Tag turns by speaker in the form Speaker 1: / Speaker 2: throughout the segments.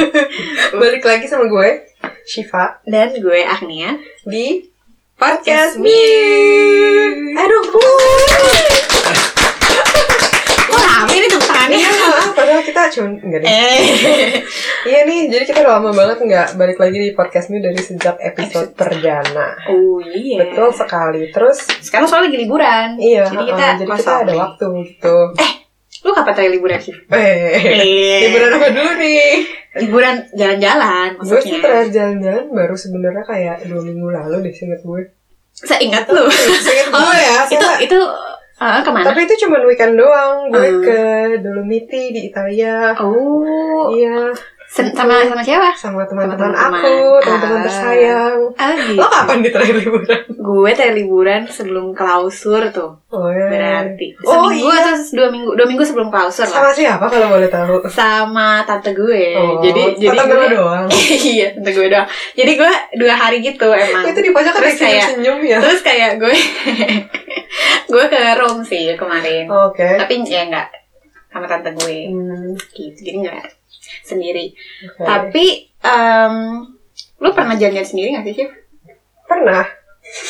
Speaker 1: balik lagi sama gue, Shiva,
Speaker 2: Dan gue Agnia.
Speaker 1: di Podcast Me.
Speaker 2: Aduh. Kok rame nih tepuk tangannya?
Speaker 1: Iya, padahal kita cuma enggak deh.
Speaker 2: Eh.
Speaker 1: Iya nih, jadi kita udah lama banget nggak balik lagi di Podcast Me dari sejak episode perdana.
Speaker 2: Oh iya.
Speaker 1: Betul sekali. Terus
Speaker 2: Sekarang soalnya lagi liburan.
Speaker 1: iya,
Speaker 2: Jadi kita
Speaker 1: uh-uh, jadi kita
Speaker 2: kosong
Speaker 1: ada
Speaker 2: nih.
Speaker 1: waktu gitu.
Speaker 2: Lu kapan terakhir liburan sih?
Speaker 1: Eh, liburan apa dulu nih?
Speaker 2: Liburan jalan-jalan
Speaker 1: Gue sih
Speaker 2: maksudnya.
Speaker 1: terakhir jalan-jalan baru sebenarnya kayak dua minggu lalu deh, singkat gue.
Speaker 2: Seingat lu.
Speaker 1: Singkat
Speaker 2: Oh,
Speaker 1: gue ya,
Speaker 2: itu
Speaker 1: soalnya-
Speaker 2: itu eh, kemana?
Speaker 1: Tapi itu cuma weekend doang. Gue
Speaker 2: Hmm.
Speaker 1: ke Dolomiti di Italia.
Speaker 2: Oh,
Speaker 1: Iya,
Speaker 2: sen- sama sama siapa?
Speaker 1: sama teman-teman
Speaker 2: Teman-teman.
Speaker 1: aku, teman-teman
Speaker 2: Ah.
Speaker 1: tersayang.
Speaker 2: Ah,
Speaker 1: Lo kapan di terakhir liburan?
Speaker 2: Gue terakhir liburan sebelum klausur tuh.
Speaker 1: Oh, iya.
Speaker 2: Berarti
Speaker 1: Oh,
Speaker 2: seminggu
Speaker 1: iya.
Speaker 2: atau dua minggu dua minggu sebelum klausur lah.
Speaker 1: Sama siapa kalau boleh tahu?
Speaker 2: sama tante gue.
Speaker 1: Oh,
Speaker 2: Eh, jadi jadi
Speaker 1: tante
Speaker 2: gue
Speaker 1: gue doang.
Speaker 2: iya, tante gue doang. Jadi gue dua hari gitu emang.
Speaker 1: itu di pojok ada
Speaker 2: Terus kayak-
Speaker 1: senyum ya.
Speaker 2: Terus kayak gue gue ke Rome sih
Speaker 1: Oh,
Speaker 2: kemarin.
Speaker 1: Oke.
Speaker 2: Tapi ya enggak sama tante gue
Speaker 1: Hmm,
Speaker 2: gitu. Jadi enggak sendiri.
Speaker 1: oke.
Speaker 2: Tapi em, lu pernah jalan-jalan sendiri gak sih, Cif?
Speaker 1: pernah,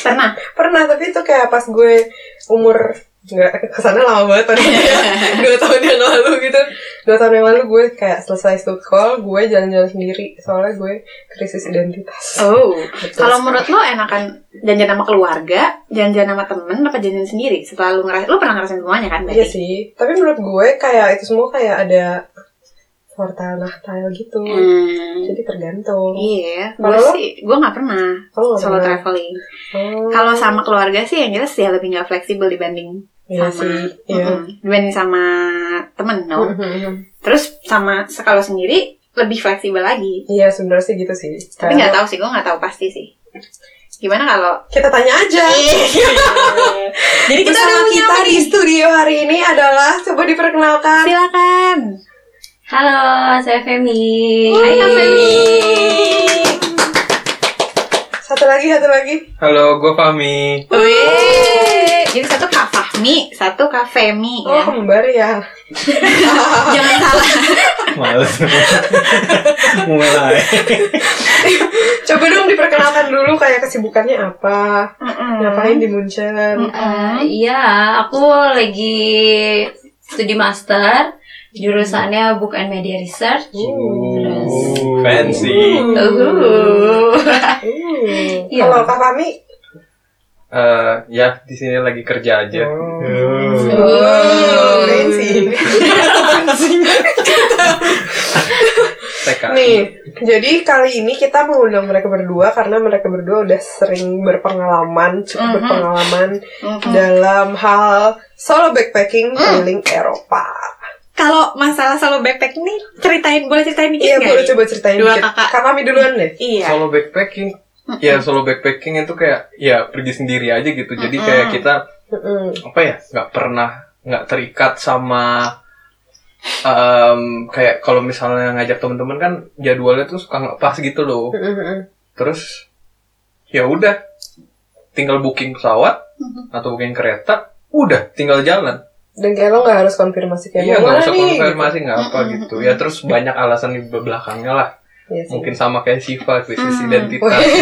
Speaker 2: Pernah.
Speaker 1: pernah tapi itu kayak pas gue umur nggak kesana lama banget padahal kayak dua tahun yang lalu gitu dua tahun yang lalu gue kayak selesai stud call gue jalan-jalan sendiri soalnya gue krisis identitas
Speaker 2: Oh.
Speaker 1: Betul.
Speaker 2: Kalau menurut lo enakan jalan-jalan sama keluarga, jalan-jalan sama temen, apa jalan-jalan sendiri? Setelah lu ngeras, lu pernah ngerasain semuanya kan?
Speaker 1: Iya
Speaker 2: berarti?
Speaker 1: sih, tapi menurut gue kayak itu semua kayak ada portal nahtail gitu.
Speaker 2: Hmm.
Speaker 1: Jadi tergantung.
Speaker 2: Iya,
Speaker 1: Kalau
Speaker 2: gue
Speaker 1: lo?
Speaker 2: sih, gue gak pernah
Speaker 1: Kalau
Speaker 2: solo traveling.
Speaker 1: Oh,
Speaker 2: Kalau sama keluarga sih yang jelas ya lebih gak fleksibel dibanding
Speaker 1: iya
Speaker 2: sama,
Speaker 1: sih. Iya.
Speaker 2: Mm-mm, dibanding sama temen, no.
Speaker 1: Mhm.
Speaker 2: Terus sama kalau sendiri lebih fleksibel lagi.
Speaker 1: Iya sebenarnya sih gitu sih.
Speaker 2: Tapi
Speaker 1: Kayak-
Speaker 2: nggak tahu sih, gue nggak tahu pasti sih. Gimana kalau?
Speaker 1: Kita tanya aja.
Speaker 2: Iya. Jadi kita sama
Speaker 1: Bersama
Speaker 2: kita
Speaker 1: kita di studio hari ini adalah coba diperkenalkan.
Speaker 2: silakan.
Speaker 3: Halo, saya Femi.
Speaker 2: Hai, Kak Femi.
Speaker 1: Satu lagi, satu lagi.
Speaker 4: Halo, gue Fahmi.
Speaker 2: Wih, jadi satu Kak Fahmi, satu Kak Femi
Speaker 1: Oh
Speaker 2: ya.
Speaker 1: kembar ya.
Speaker 2: Jangan salah.
Speaker 4: Males. Mulai.
Speaker 1: Coba dong diperkenalkan dulu kayak kesibukannya apa,
Speaker 2: Mm-mm.
Speaker 1: ngapain di Munchen.
Speaker 3: Eh, Iya, aku lagi studi master jurusannya Book and Media Research.
Speaker 4: Hmm. Uh, fancy.
Speaker 1: Hmm.
Speaker 3: Uhuh.
Speaker 1: Hmm.
Speaker 3: Iya.
Speaker 1: Kalau Kak Fami,
Speaker 4: Eh, ya, di sini lagi kerja aja.
Speaker 1: Oh. Bensin.
Speaker 4: TK.
Speaker 1: Nih, jadi kali ini kita mengundang mereka berdua karena mereka berdua udah sering berpengalaman, cukup
Speaker 2: Mhm.
Speaker 1: berpengalaman
Speaker 2: Mm-mm.
Speaker 1: Hmm. dalam hal solo backpacking
Speaker 2: Hmm.
Speaker 1: keliling Eropa.
Speaker 2: Kalau masalah solo backpack ini ceritain boleh ceritain dikit
Speaker 1: Iya,
Speaker 2: nggak
Speaker 1: boleh
Speaker 2: nih?
Speaker 1: coba ceritain
Speaker 2: Dua
Speaker 1: dikit.
Speaker 2: kakak.
Speaker 1: Kak Mami duluan deh.
Speaker 2: Iya.
Speaker 4: Solo backpacking. Ya, solo backpacking itu kayak ya pergi sendiri aja gitu. Jadi kayak kita
Speaker 1: Mm-mm.
Speaker 4: apa ya? nggak pernah nggak terikat sama em, kayak kalau misalnya ngajak temen-temen kan jadwalnya tuh suka nggak pas gitu loh.
Speaker 1: Mm-mm.
Speaker 4: Terus ya udah tinggal booking pesawat atau booking kereta, udah tinggal jalan.
Speaker 1: Dan kayak lo gak harus konfirmasi kayak
Speaker 4: Iya
Speaker 1: mau
Speaker 4: nggak
Speaker 1: mana
Speaker 4: usah
Speaker 1: nih?
Speaker 4: konfirmasi nggak apa
Speaker 2: Mm-mm.
Speaker 4: gitu ya terus banyak alasan di belakangnya lah
Speaker 1: Iya sih.
Speaker 4: mungkin sama kayak Siva krisis
Speaker 2: Mm.
Speaker 4: identitas
Speaker 1: Wih.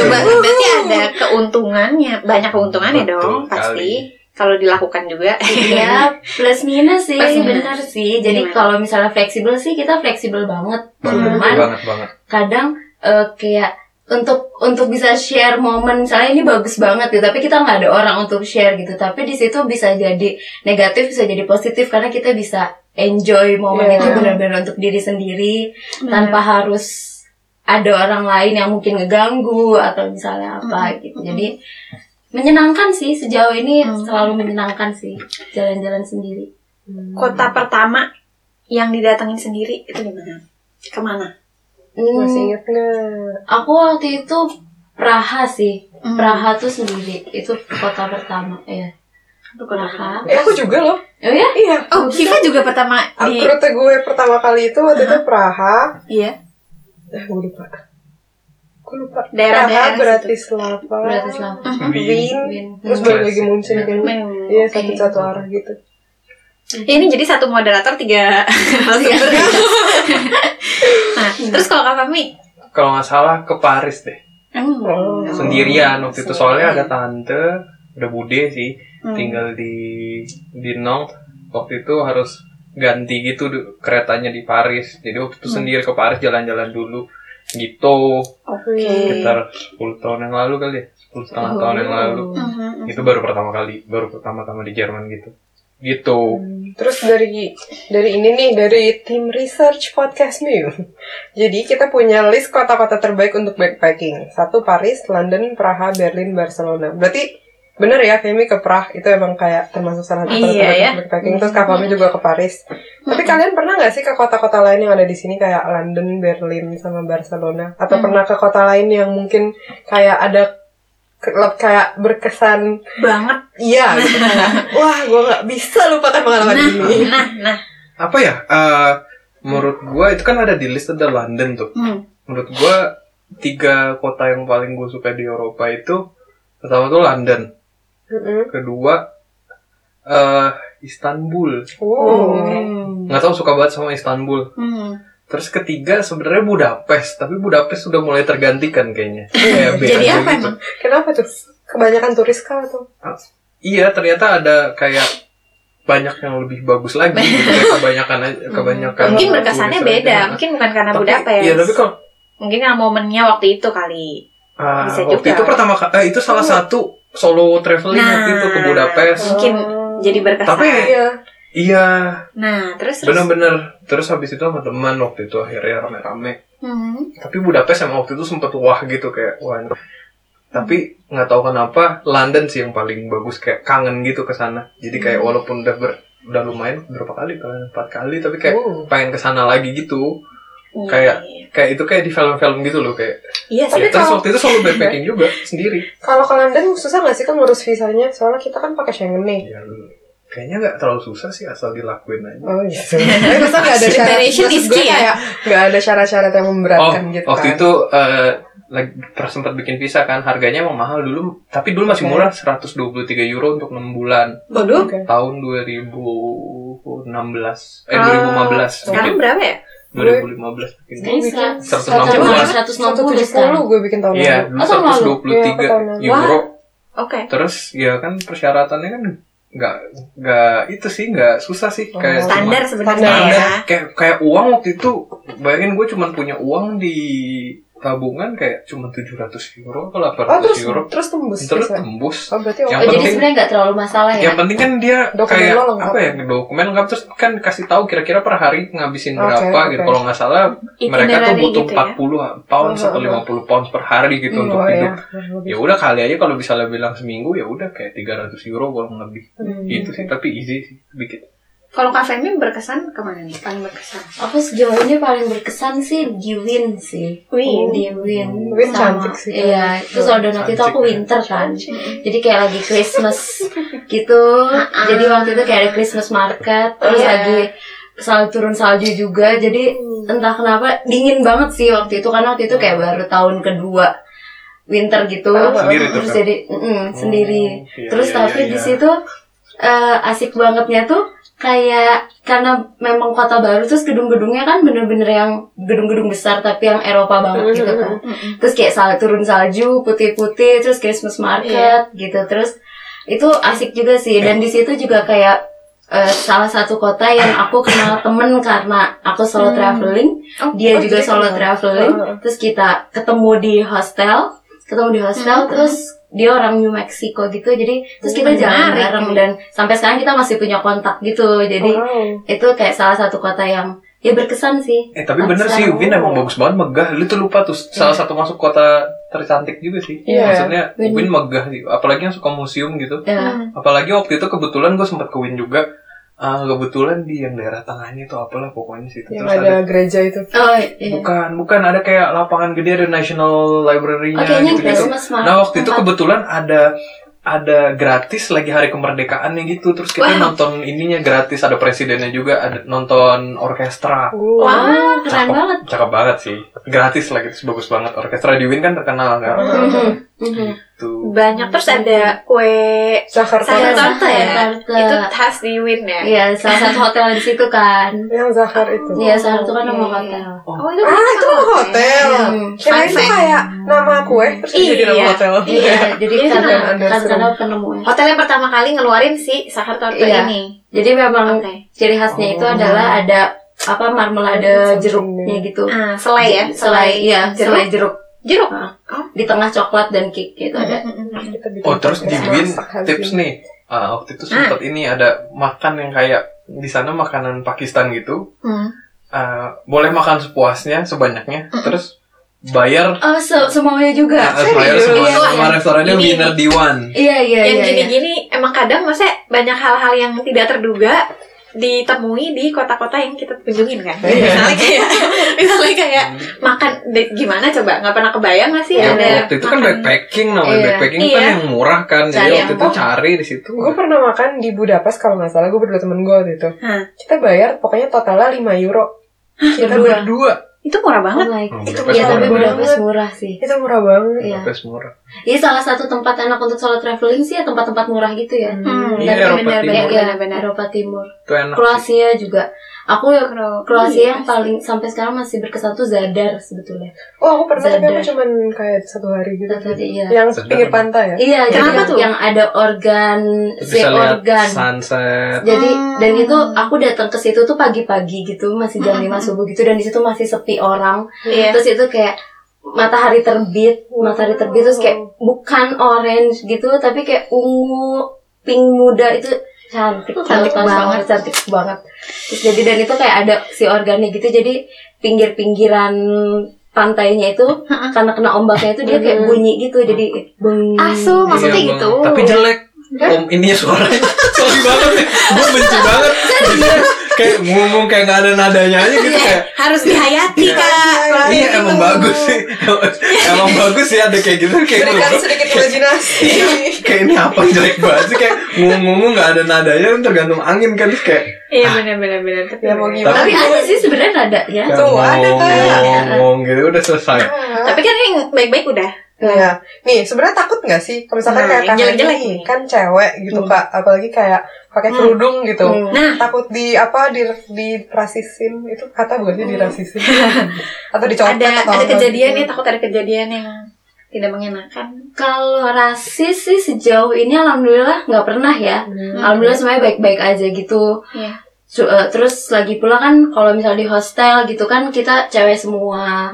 Speaker 2: Coba berarti ada keuntungannya, banyak keuntungannya
Speaker 4: Betul
Speaker 2: dong
Speaker 4: sekali.
Speaker 2: pasti kalau dilakukan juga.
Speaker 3: Iya, plus minus sih,
Speaker 2: Plus minus.
Speaker 3: bener sih. Jadi
Speaker 2: Gimana?
Speaker 3: kalau misalnya fleksibel sih kita fleksibel banget.
Speaker 4: banget
Speaker 3: Cuman
Speaker 4: banget banget
Speaker 3: kadang eh, kayak untuk untuk bisa share momen misalnya ini bagus banget gitu tapi kita nggak ada orang untuk share gitu tapi di situ bisa jadi negatif bisa jadi positif karena kita bisa enjoy momen
Speaker 1: Iya.
Speaker 3: itu benar-benar untuk diri sendiri tanpa harus ada orang lain yang mungkin ngeganggu atau misalnya apa gitu jadi menyenangkan sih sejauh ini
Speaker 2: Mm.
Speaker 3: selalu menyenangkan sih jalan-jalan sendiri
Speaker 2: kota pertama yang didatengin sendiri itu di mana? Kemana?
Speaker 3: Hmm,
Speaker 1: Masih inget nggak?
Speaker 3: aku waktu itu Praha sih
Speaker 1: Hmm.
Speaker 3: Praha tuh sendiri itu kota pertama ya
Speaker 2: Aduh, kota pertama.
Speaker 1: Eh, aku juga loh.
Speaker 3: Oh ya?
Speaker 1: Iya.
Speaker 2: Hmm. Oh, Siva juga pertama
Speaker 1: Aku
Speaker 2: di
Speaker 1: rute gue pertama kali itu waktu itu Praha.
Speaker 2: iya,
Speaker 1: Eh, gue lupa. Gue lupa. Praha,
Speaker 2: daerah-daerah situ.
Speaker 1: Bratislava.
Speaker 3: Bratislava.
Speaker 1: Wien.
Speaker 3: Wien.
Speaker 1: Terus balik lagi
Speaker 4: Klasik.
Speaker 1: Munchen kan.
Speaker 2: Hmm,
Speaker 1: Iya,
Speaker 2: oke.
Speaker 1: satu-satu arah gitu.
Speaker 2: Ya, ini jadi satu moderator tiga. tiga. nah, terus kalau Kak Fahmi
Speaker 4: kalau nggak salah ke Paris deh
Speaker 1: Oh.
Speaker 4: sendirian waktu itu soalnya ada
Speaker 2: Sendirian.
Speaker 4: tante udah bude sih
Speaker 2: Hmm.
Speaker 4: tinggal di di Nantes waktu itu harus ganti gitu du- keretanya di Paris jadi waktu itu sendiri ke Paris jalan-jalan dulu gitu
Speaker 2: Oke.
Speaker 1: Hmm.
Speaker 4: sekitar 10 tahun yang lalu kali ya 10 setengah tahun yang lalu
Speaker 1: Hmm.
Speaker 2: Mhm, mhm.
Speaker 4: itu baru pertama kali baru pertama-tama di Jerman gitu
Speaker 1: Hmm.
Speaker 4: gitu
Speaker 1: Terus dari dari ini nih dari tim research podcast Mew. Jadi kita punya list kota-kota terbaik untuk backpacking. Satu Paris, London, Praha, Berlin, Barcelona. Berarti bener ya Femi ke Prah itu emang kayak termasuk salah satu
Speaker 2: Iya,
Speaker 1: kota terbaik
Speaker 2: ya. Hmm.
Speaker 1: untuk backpacking. Terus Kak Fami juga ke Paris. Tapi kalian pernah nggak sih ke kota-kota lain yang ada di sini kayak London, Berlin, sama Barcelona? Atau
Speaker 2: Hmm.
Speaker 1: pernah ke kota lain yang mungkin kayak ada ke- kayak berkesan
Speaker 2: banget.
Speaker 1: Iya, gitu. Kayak, wah gue gak bisa lupakan pengalaman
Speaker 2: Nah,
Speaker 1: ini.
Speaker 2: nah, nah.
Speaker 4: apa ya Eh, menurut gua itu kan ada di list ada London tuh
Speaker 2: Hmm.
Speaker 4: menurut gua tiga kota yang paling gue suka di Eropa itu pertama tuh London
Speaker 1: Mm-mm.
Speaker 4: kedua eh Istanbul
Speaker 1: Wow.
Speaker 4: nggak tahu suka banget sama Istanbul
Speaker 2: Hmm.
Speaker 4: terus ketiga sebenarnya Budapest tapi Budapest sudah mulai tergantikan kayaknya Kayak
Speaker 2: Jadi
Speaker 4: BAB
Speaker 2: apa
Speaker 4: gitu.
Speaker 2: emang?
Speaker 1: Kenapa tuh? Kebanyakan turis kah tuh?
Speaker 4: iya ternyata ada kayak banyak yang lebih bagus lagi gitu. Kayak kebanyakan aja- kebanyakan
Speaker 2: Hmm. Mungkin berkesannya
Speaker 4: turis aja.
Speaker 2: beda. Mungkin bukan karena
Speaker 4: Tapi-
Speaker 2: Budapest.
Speaker 4: iya tapi kalau
Speaker 2: Mungkin karena momennya waktu itu kali.
Speaker 4: ah,
Speaker 2: Bisa
Speaker 4: waktu
Speaker 2: juga. Iya.
Speaker 4: itu pertama ka- eh, itu salah satu solo traveling
Speaker 2: Nah.
Speaker 4: waktu itu ke Budapest
Speaker 2: Mungkin
Speaker 1: Oh.
Speaker 2: Jadi berkesan.
Speaker 4: Tapi-
Speaker 1: Iya.
Speaker 4: iya
Speaker 2: Nah, terus terus.
Speaker 4: bener-bener terus habis itu sama teman waktu itu akhirnya rame-rame
Speaker 2: Mhm.
Speaker 4: tapi Budapest emang waktu itu sempet wah gitu kayak wah ini- tapi nggak tahu kenapa London sih yang paling bagus kayak kangen gitu ke sana jadi kayak
Speaker 2: Hmm.
Speaker 4: walaupun udah ber- udah lumayan berapa kali kan empat kali tapi kayak
Speaker 1: Oh.
Speaker 4: pengen ke sana lagi gitu
Speaker 2: Iya,
Speaker 4: Kayak-
Speaker 2: iya.
Speaker 4: kayak itu kayak di film-film gitu loh kayak
Speaker 2: Iya sih.
Speaker 1: Tapi
Speaker 4: ya, terus
Speaker 1: kalau-
Speaker 4: waktu itu selalu backpacking juga sendiri
Speaker 1: Kalau ke London susah nggak sih kan ngurus visanya? Soalnya kita kan pakai Schengen nih.
Speaker 4: ya, kayaknya nggak terlalu susah sih asal dilakuin aja
Speaker 1: Oh iya. Tapi masa nggak ada syarat?
Speaker 2: Preparation
Speaker 1: maksud
Speaker 2: is
Speaker 1: gue
Speaker 2: key ya?
Speaker 1: kayak nggak ada syarat-syarat yang
Speaker 4: oh
Speaker 1: memberatkan gitu.
Speaker 4: waktu
Speaker 1: kan.
Speaker 4: itu eh, lagi pernah sempat bikin visa kan harganya emang mahal dulu tapi dulu masih
Speaker 1: Oke.
Speaker 4: murah 123 euro untuk 6 bulan
Speaker 2: Waduh.
Speaker 1: Oke.
Speaker 4: tahun 2016 eh
Speaker 2: Ah,
Speaker 4: 2015
Speaker 2: Sekarang berapa ya?
Speaker 4: mungkin 2015 mungkin
Speaker 1: Gue bikin
Speaker 3: seratus
Speaker 4: 160.
Speaker 3: enam puluh
Speaker 1: 170
Speaker 3: kan
Speaker 1: gue bikin tahun
Speaker 4: iya
Speaker 1: lalu.
Speaker 4: dulu
Speaker 3: Oh, tahun lalu?
Speaker 1: Iya, tahun
Speaker 4: 123
Speaker 1: lalu.
Speaker 4: euro
Speaker 2: Oke.
Speaker 4: terus ya kan persyaratannya kan nggak nggak itu sih nggak susah sih
Speaker 1: Oh.
Speaker 4: kayak cuma-
Speaker 2: Standar sebenarnya
Speaker 1: Standar.
Speaker 2: ya.
Speaker 4: kayak kayak uang waktu itu bayangin gue cuman punya uang di tabungan kayak cuma 700 euro atau 800
Speaker 1: Oh terus
Speaker 4: euro
Speaker 1: terus tembus.
Speaker 4: terus
Speaker 1: bisa.
Speaker 4: tembus
Speaker 1: Oh berarti
Speaker 4: Yang
Speaker 3: oh jadi
Speaker 4: penting-
Speaker 3: sebenarnya nggak terlalu masalah ya
Speaker 4: yang penting kan dia
Speaker 1: Dokumen
Speaker 4: kayak
Speaker 1: lo lengkap.
Speaker 4: apa ya dokumen lengkap terus kan kasih tahu kira-kira per hari ngabisin
Speaker 1: Oke,
Speaker 4: berapa gitu
Speaker 1: oke.
Speaker 4: kalau nggak salah mereka tuh
Speaker 2: Itinerary
Speaker 4: butuh
Speaker 2: gitu ya.
Speaker 4: 40 pounds
Speaker 1: Oh,
Speaker 4: atau
Speaker 1: oh,
Speaker 4: 50 pounds per hari gitu
Speaker 1: Hmm,
Speaker 4: untuk
Speaker 1: oh,
Speaker 4: hidup.
Speaker 1: iya.
Speaker 4: Ya udah kali aja kalau bisa lebih bilang seminggu ya udah kayak 300 euro kurang lebih
Speaker 1: Hmm,
Speaker 4: gitu
Speaker 1: oke.
Speaker 4: sih tapi easy sih bikin.
Speaker 2: Kalau Kak Femi berkesan kemana nih? Paling berkesan.
Speaker 3: aku sejauh ini paling berkesan sih di Win sih
Speaker 2: Win.
Speaker 3: di Win
Speaker 1: Win
Speaker 3: sama
Speaker 1: cantik sih.
Speaker 3: iya itu soal donat itu aku
Speaker 4: Cantik.
Speaker 3: winter kan jadi kayak lagi Christmas gitu
Speaker 4: Ah,
Speaker 3: jadi waktu itu kayak ada Christmas market terus
Speaker 2: Iya.
Speaker 3: lagi salju turun salju juga jadi entah kenapa dingin banget sih waktu itu karena waktu itu kayak baru tahun kedua winter gitu
Speaker 1: Oh,
Speaker 4: Hmm. sendiri tuh,
Speaker 3: terus
Speaker 4: kan?
Speaker 3: jadi mm, sendiri
Speaker 4: Oh, iya,
Speaker 3: terus
Speaker 4: iya,
Speaker 3: tapi
Speaker 4: iya,
Speaker 3: di
Speaker 4: iya.
Speaker 3: situ eh, asik bangetnya tuh kayak karena memang kota baru terus gedung-gedungnya kan bener-bener yang gedung-gedung besar tapi yang Eropa banget gitu kan terus kayak sal turun salju putih-putih terus Christmas market gitu terus itu asik juga sih dan di situ juga kayak eh, salah satu kota yang aku kenal temen karena aku solo
Speaker 2: Hmm.
Speaker 3: traveling
Speaker 2: Oh,
Speaker 3: dia Oh,
Speaker 1: oh,
Speaker 3: juga
Speaker 1: jadi
Speaker 3: solo
Speaker 1: kenal.
Speaker 3: traveling
Speaker 1: Heeh.
Speaker 3: terus kita ketemu di hostel ketemu di hostel
Speaker 2: Hmm.
Speaker 3: terus dia orang New Mexico gitu jadi terus kita
Speaker 2: Hmm,
Speaker 3: jalan
Speaker 2: menarik.
Speaker 3: bareng dan sampai sekarang kita masih punya kontak gitu jadi
Speaker 1: Oh, Wow.
Speaker 3: itu kayak salah satu kota yang ya berkesan sih
Speaker 4: Eh tapi bener
Speaker 3: Paksa.
Speaker 4: sih Ubin emang bagus banget megah. Lu tuh lupa tuh salah satu masuk kota tercantik juga sih.
Speaker 1: Iya.
Speaker 4: Maksudnya
Speaker 3: Win.
Speaker 4: Ubin megah sih. Apalagi yang suka museum gitu.
Speaker 3: ya
Speaker 4: Apalagi waktu itu kebetulan gue sempat ke Win juga. Ah, kebetulan di yang daerah tengahnya itu apalah pokoknya situ.
Speaker 1: Yang ada gereja itu.
Speaker 3: oh iya
Speaker 4: Bukan, bukan ada kayak lapangan gede ada National Library-nya
Speaker 3: oh kayaknya
Speaker 4: gitu-gitu.
Speaker 3: Christmas market
Speaker 4: Nah, waktu itu
Speaker 3: tempat-
Speaker 4: kebetulan ada ada gratis lagi hari kemerdekaannya gitu. Terus kita
Speaker 2: Wow.
Speaker 4: nonton ininya gratis, ada presidennya juga, ada nonton orkestra.
Speaker 1: Wow.
Speaker 2: Wah,
Speaker 3: keren banget
Speaker 4: gitu,
Speaker 3: Oh,
Speaker 4: Cakep banget sih. Gratis lagi terus bagus banget orkestra di Win kan terkenal kan.
Speaker 3: Mhm, mhm.
Speaker 4: Gitu. gitu
Speaker 2: Banyak terus ada kue
Speaker 1: Zahar
Speaker 2: Saya- Jakarta ya?
Speaker 3: Jakarta.
Speaker 2: itu khas di Win ya.
Speaker 3: Iya, salah satu hotel di situ kan.
Speaker 1: yang Zahar itu
Speaker 3: Iya, salah satu kan nama
Speaker 2: Oke.
Speaker 3: hotel.
Speaker 2: Oh itu
Speaker 1: ah itu mah
Speaker 2: Iya.
Speaker 1: hotel
Speaker 3: Hmm.
Speaker 1: Kirain itu
Speaker 2: Fun
Speaker 1: kayak nama kue terus jadi nama
Speaker 2: Iya.
Speaker 1: hotel
Speaker 3: Iya, jadi
Speaker 2: Iya,
Speaker 3: karena
Speaker 1: kan, ada
Speaker 3: kan
Speaker 1: seru.
Speaker 3: karena penemuan.
Speaker 2: Hotel yang pertama kali ngeluarin si Sahar Torto
Speaker 3: Iya.
Speaker 2: ini.
Speaker 3: Jadi memang
Speaker 2: Oke.
Speaker 3: ciri khasnya itu
Speaker 4: Oh.
Speaker 3: adalah ada apa marmelade
Speaker 1: Sampai
Speaker 3: jeruknya gitu.
Speaker 2: Ah, selai ya,
Speaker 3: Selai, iya, selai jeruk
Speaker 2: jeruk.
Speaker 3: di tengah coklat dan cake gitu ada.
Speaker 1: Kita bikin
Speaker 4: oh terus di
Speaker 1: podcast
Speaker 4: Win
Speaker 1: masak hari
Speaker 4: tips
Speaker 1: ini.
Speaker 4: nih Ah, waktu itu sempat ini ada makan yang kayak di sana makanan Pakistan gitu
Speaker 2: Hmm.
Speaker 4: Ah, boleh makan sepuasnya sebanyaknya terus bayar
Speaker 3: Oh, se- semuanya
Speaker 4: ah,
Speaker 3: juga.
Speaker 4: harus bayar
Speaker 1: serius?
Speaker 4: semuanya
Speaker 3: Iya,
Speaker 4: sama
Speaker 2: iya.
Speaker 4: restorannya
Speaker 2: Ini-
Speaker 4: winner di one
Speaker 3: Iya, iya,
Speaker 2: yang
Speaker 3: iya. iya.
Speaker 2: gini-gini emang kadang maksudnya banyak hal-hal yang tidak terduga ditemui di kota-kota yang kita kunjungin kan
Speaker 1: Iya.
Speaker 2: misalnya kayak misalnya kayak makan di- gimana coba nggak pernah kebayang nggak sih
Speaker 4: Ya,
Speaker 2: ada
Speaker 4: waktu itu kan
Speaker 2: makan-
Speaker 4: backpacking namanya
Speaker 3: Iya.
Speaker 4: backpacking
Speaker 2: Iya.
Speaker 4: kan yang murah kan jadi
Speaker 3: Cari
Speaker 4: waktu
Speaker 3: yang-
Speaker 4: itu
Speaker 1: Oh.
Speaker 4: cari di situ
Speaker 1: Gue pernah makan di Budapest kalau nggak salah gue berdua temen gue waktu itu.
Speaker 2: Hah.
Speaker 1: Kita bayar pokoknya totalnya 5 euro. Kita
Speaker 3: berdua.
Speaker 1: berdua.
Speaker 2: itu murah
Speaker 3: Oh
Speaker 2: banget
Speaker 3: my
Speaker 4: Hmm,
Speaker 3: God.
Speaker 1: Itu
Speaker 4: Budapest
Speaker 3: Iya, tapi
Speaker 4: murah.
Speaker 1: banget.
Speaker 3: Budapest murah sih.
Speaker 1: Itu murah banget.
Speaker 3: Iya.
Speaker 4: Budapest murah
Speaker 3: Iya, salah satu tempat enak untuk solo traveling sih ya tempat-tempat murah gitu ya.
Speaker 2: Hmm,
Speaker 4: Iya,
Speaker 2: benar,
Speaker 4: Eropa
Speaker 2: benar,
Speaker 4: Timur.
Speaker 2: benar,
Speaker 3: Iya,
Speaker 2: benar, benar.
Speaker 3: Eropa Timur.
Speaker 4: itu enak sih.
Speaker 3: Kroasia juga. Aku yang
Speaker 2: Kro-
Speaker 3: Kroasia yang
Speaker 2: Iya.
Speaker 3: paling sampai sekarang masih berkesan tuh Zadar sebetulnya.
Speaker 1: Oh aku pernah tapi
Speaker 3: Zadar.
Speaker 1: aku cuman kayak satu hari gitu.
Speaker 3: Zadar, iya.
Speaker 1: Yang
Speaker 4: Zadar
Speaker 1: pinggir
Speaker 4: emang.
Speaker 1: pantai ya.
Speaker 3: Iya, jadi
Speaker 2: Kenapa
Speaker 3: yang-
Speaker 2: tuh?
Speaker 3: yang ada organ
Speaker 4: Terus
Speaker 3: si
Speaker 4: bisa lihat
Speaker 3: organ.
Speaker 4: sunset
Speaker 3: Jadi
Speaker 2: Hmm.
Speaker 3: dan itu aku datang ke situ tuh pagi-pagi gitu, masih jam 5 subuh gitu dan di situ masih sepi orang.
Speaker 2: Iya.
Speaker 3: Terus itu kayak matahari terbit, matahari terbit terus kayak bukan orange gitu tapi kayak ungu, pink muda itu Oh, cantik
Speaker 2: Cantik
Speaker 3: kalau
Speaker 2: banget.
Speaker 3: orang cantik banget. Terus jadi dan itu kayak ada si organnya gitu jadi pinggir-pinggiran pantainya itu karena kena ombaknya itu dia kayak
Speaker 2: Hmm.
Speaker 3: bunyi gitu jadi beng
Speaker 2: asu maksudnya
Speaker 4: Iya, Bang.
Speaker 2: gitu
Speaker 4: tapi jelek om ini suaranya sorry banget nih gue benci banget Dia kayak ngomong kayak gak ada nadanya aja gitu kayak
Speaker 2: harus dihayati
Speaker 4: Iya.
Speaker 2: kak Kalau
Speaker 4: iya
Speaker 2: gitu.
Speaker 4: emang bagus sih emang bagus sih ada kayak gitu kayak
Speaker 1: Berikan
Speaker 4: gue-
Speaker 1: sedikit imajinasi.
Speaker 4: kayak ini apa jelek banget sih kayak ngomong-ngomong gak ada nadanya tergantung angin kan terus kayak
Speaker 2: iya benar benar benar tapi
Speaker 1: Ya, mau
Speaker 2: benar.
Speaker 1: gimana?
Speaker 3: Nah, tapi ada sih sebenarnya ada ya
Speaker 4: kayak
Speaker 1: Tuh, ada, Kak.
Speaker 4: ngomong-ngomong gitu udah selesai
Speaker 1: Ah.
Speaker 2: tapi kan yang baik-baik udah
Speaker 1: Iya. Nih, sebenarnya takut nggak sih? Kalau
Speaker 2: Nah,
Speaker 1: misalkan
Speaker 2: yang
Speaker 1: kayak kakak
Speaker 2: jelek-jelek
Speaker 1: ini
Speaker 2: nih.
Speaker 1: kan cewek gitu
Speaker 3: Hmm.
Speaker 1: kak, apalagi kayak pakai
Speaker 2: Hmm.
Speaker 1: kerudung gitu.
Speaker 3: Hmm.
Speaker 2: nah
Speaker 1: Takut di apa di dirasisin itu kata bukan sih dirasisin atau dicoret
Speaker 2: ada ada
Speaker 1: atau apa
Speaker 2: kejadian
Speaker 1: gitu.
Speaker 2: nih takut ada kejadian yang tidak mengenakan
Speaker 3: kalau rasis sih sejauh ini alhamdulillah nggak pernah ya
Speaker 1: Hmm.
Speaker 3: alhamdulillah semuanya baik-baik aja gitu
Speaker 2: Iya.
Speaker 3: Su- eh, terus lagi pula kan kalau misalnya di hostel gitu kan kita cewek semua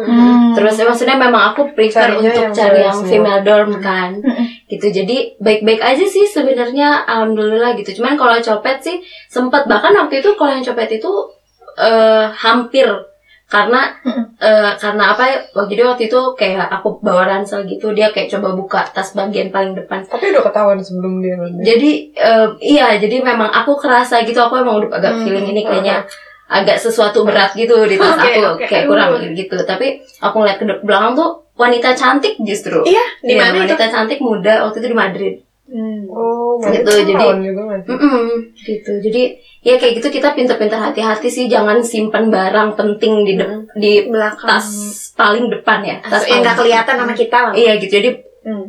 Speaker 3: terus eh, maksudnya memang aku prefer
Speaker 1: Hmm. Carinya
Speaker 3: untuk
Speaker 1: yang
Speaker 3: cari
Speaker 1: cewek
Speaker 3: yang
Speaker 1: semua. Hmm.
Speaker 3: female dorm kan
Speaker 2: Mm-mm.
Speaker 3: gitu jadi baik-baik aja sih sebenarnya alhamdulillah gitu cuman kalau copet sih sempat bahkan waktu itu kalau yang copet itu eh, hampir karena
Speaker 1: Hmm.
Speaker 3: eh, karena apa ya, oh, jadi waktu itu kayak aku bawa ransel gitu dia kayak coba buka tas bagian paling depan
Speaker 1: Tapi udah ketahuan sebelum dia ngambil.
Speaker 3: jadi eh, iya jadi memang aku kerasa gitu aku emang udah agak
Speaker 2: Hmm.
Speaker 3: feeling ini kayaknya agak sesuatu berat gitu di tas
Speaker 2: Oke,
Speaker 3: aku
Speaker 2: oke.
Speaker 3: kayak
Speaker 2: Aduh.
Speaker 3: kurang gitu tapi aku ngeliat ke de- belakang tuh wanita cantik justru
Speaker 2: Iya, di
Speaker 3: Iya,
Speaker 2: mana itu?
Speaker 3: wanita cantik muda waktu itu di Madrid
Speaker 1: Oh,
Speaker 3: Gitu,
Speaker 1: berarti
Speaker 3: jadi-
Speaker 1: ketahuan juga nggak sih?
Speaker 2: Hmm.
Speaker 3: Mm-mm, gitu jadi ya kayak gitu kita pinter-pinter hati-hati sih jangan simpan barang penting di de- di
Speaker 2: belakang
Speaker 3: tas paling depan ya tas
Speaker 2: Hmm. yang nggak
Speaker 3: paling-
Speaker 2: kelihatan sama kita lah Hmm.
Speaker 3: iya gitu jadi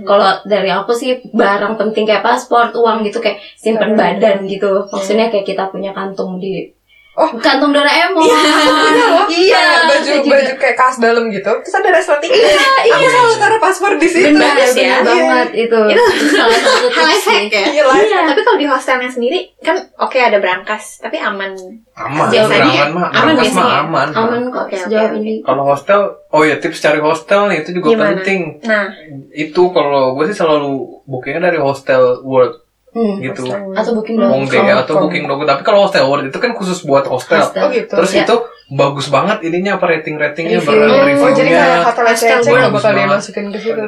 Speaker 3: kalau dari aku sih barang penting kayak paspor uang gitu kayak simpan
Speaker 1: Hmm.
Speaker 3: badan gitu maksudnya kayak kita punya kantung di
Speaker 1: Oh.
Speaker 3: kantung
Speaker 1: Iya
Speaker 3: Doraemon
Speaker 1: loh.
Speaker 3: iya
Speaker 1: Kayak baju
Speaker 3: saya juga.
Speaker 1: baju kayak kaos dalam gitu. Terus ada resleting. Aku selalu taruh paspor di situ.
Speaker 3: benar
Speaker 2: Bagus ya.
Speaker 3: ya banget itu
Speaker 2: Itu
Speaker 3: salah satu
Speaker 2: hal
Speaker 3: tips sih.
Speaker 2: efek ya
Speaker 1: Iya lah.
Speaker 3: Iya.
Speaker 2: tapi kalau di hostelnya sendiri kan oke ada berangkas tapi aman
Speaker 4: aman
Speaker 2: Biasanya
Speaker 4: aman mah
Speaker 2: aman
Speaker 4: aman mah
Speaker 2: biasanya.
Speaker 4: aman
Speaker 3: aman kok
Speaker 2: Oke, oke,
Speaker 3: sejauh
Speaker 2: oke.
Speaker 3: ini
Speaker 4: kalau hostel oh ya tips cari hostel nih itu juga
Speaker 2: Gimana?
Speaker 4: penting
Speaker 2: nah
Speaker 4: itu kalau gue sih selalu bookingnya dari hostel world
Speaker 3: Hmm.
Speaker 4: gitu
Speaker 3: atau booking
Speaker 4: Wong
Speaker 3: dong
Speaker 4: Day
Speaker 1: Hostel.
Speaker 4: atau booking.com tapi kalau hostel world itu kan khusus buat hostel
Speaker 1: Oh gitu.
Speaker 4: terus
Speaker 3: Ya.
Speaker 4: itu bagus banget ininya apa rating ratingnya
Speaker 3: Review.
Speaker 4: barang
Speaker 3: Oh,
Speaker 1: Oh, jadi
Speaker 4: reviewnya
Speaker 1: kayak hotel
Speaker 2: Hostel
Speaker 1: SCC nggak
Speaker 4: bagus
Speaker 1: bakal dia
Speaker 4: banget.
Speaker 1: masukin ke situ.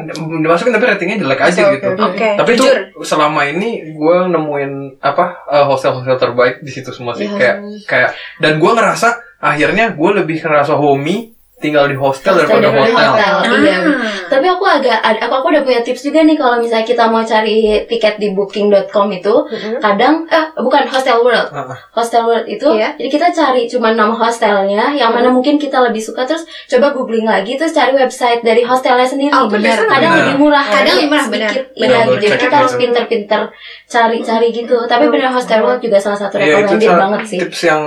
Speaker 4: dimasukin tapi ratingnya jelek aja
Speaker 1: Oke,
Speaker 4: gitu
Speaker 1: oke.
Speaker 2: oke
Speaker 4: tapi
Speaker 2: jujur
Speaker 4: tuh selama ini gue nemuin apa eh, hostel-hostel terbaik di situ semua sih
Speaker 3: Ya.
Speaker 4: kayak kayak dan gue ngerasa akhirnya gue lebih ngerasa homey tinggal di hostel
Speaker 3: Hostel
Speaker 4: daripada
Speaker 3: daripada
Speaker 4: hotel.
Speaker 3: hotel. Iya.
Speaker 2: Ah.
Speaker 3: Tapi aku agak, ada- aku, aku udah punya tips juga nih kalau misalnya kita mau cari tiket di booking.com itu,
Speaker 1: Iya.
Speaker 3: kadang, eh bukan Hostel World,
Speaker 4: Ah, ah.
Speaker 3: Hostel World itu,
Speaker 2: Iya.
Speaker 3: jadi kita cari cuma nama hostelnya, yang mana mungkin kita lebih suka terus coba googling lagi, terus cari website dari hostelnya sendiri.
Speaker 2: Oh, benar.
Speaker 3: Kadang
Speaker 4: Benar.
Speaker 3: lebih murah,
Speaker 2: Kadang lebih murah, benar.
Speaker 3: sedikit.
Speaker 2: Benar.
Speaker 3: Iya,
Speaker 4: Double
Speaker 3: jadi
Speaker 4: check
Speaker 3: kita harus
Speaker 4: gitu.
Speaker 3: pinter-pinter cari-cari gitu. Tapi benar Hostel World juga salah satu
Speaker 4: Iya, itu
Speaker 3: recommended
Speaker 4: sa-
Speaker 3: banget sih.
Speaker 4: tips yang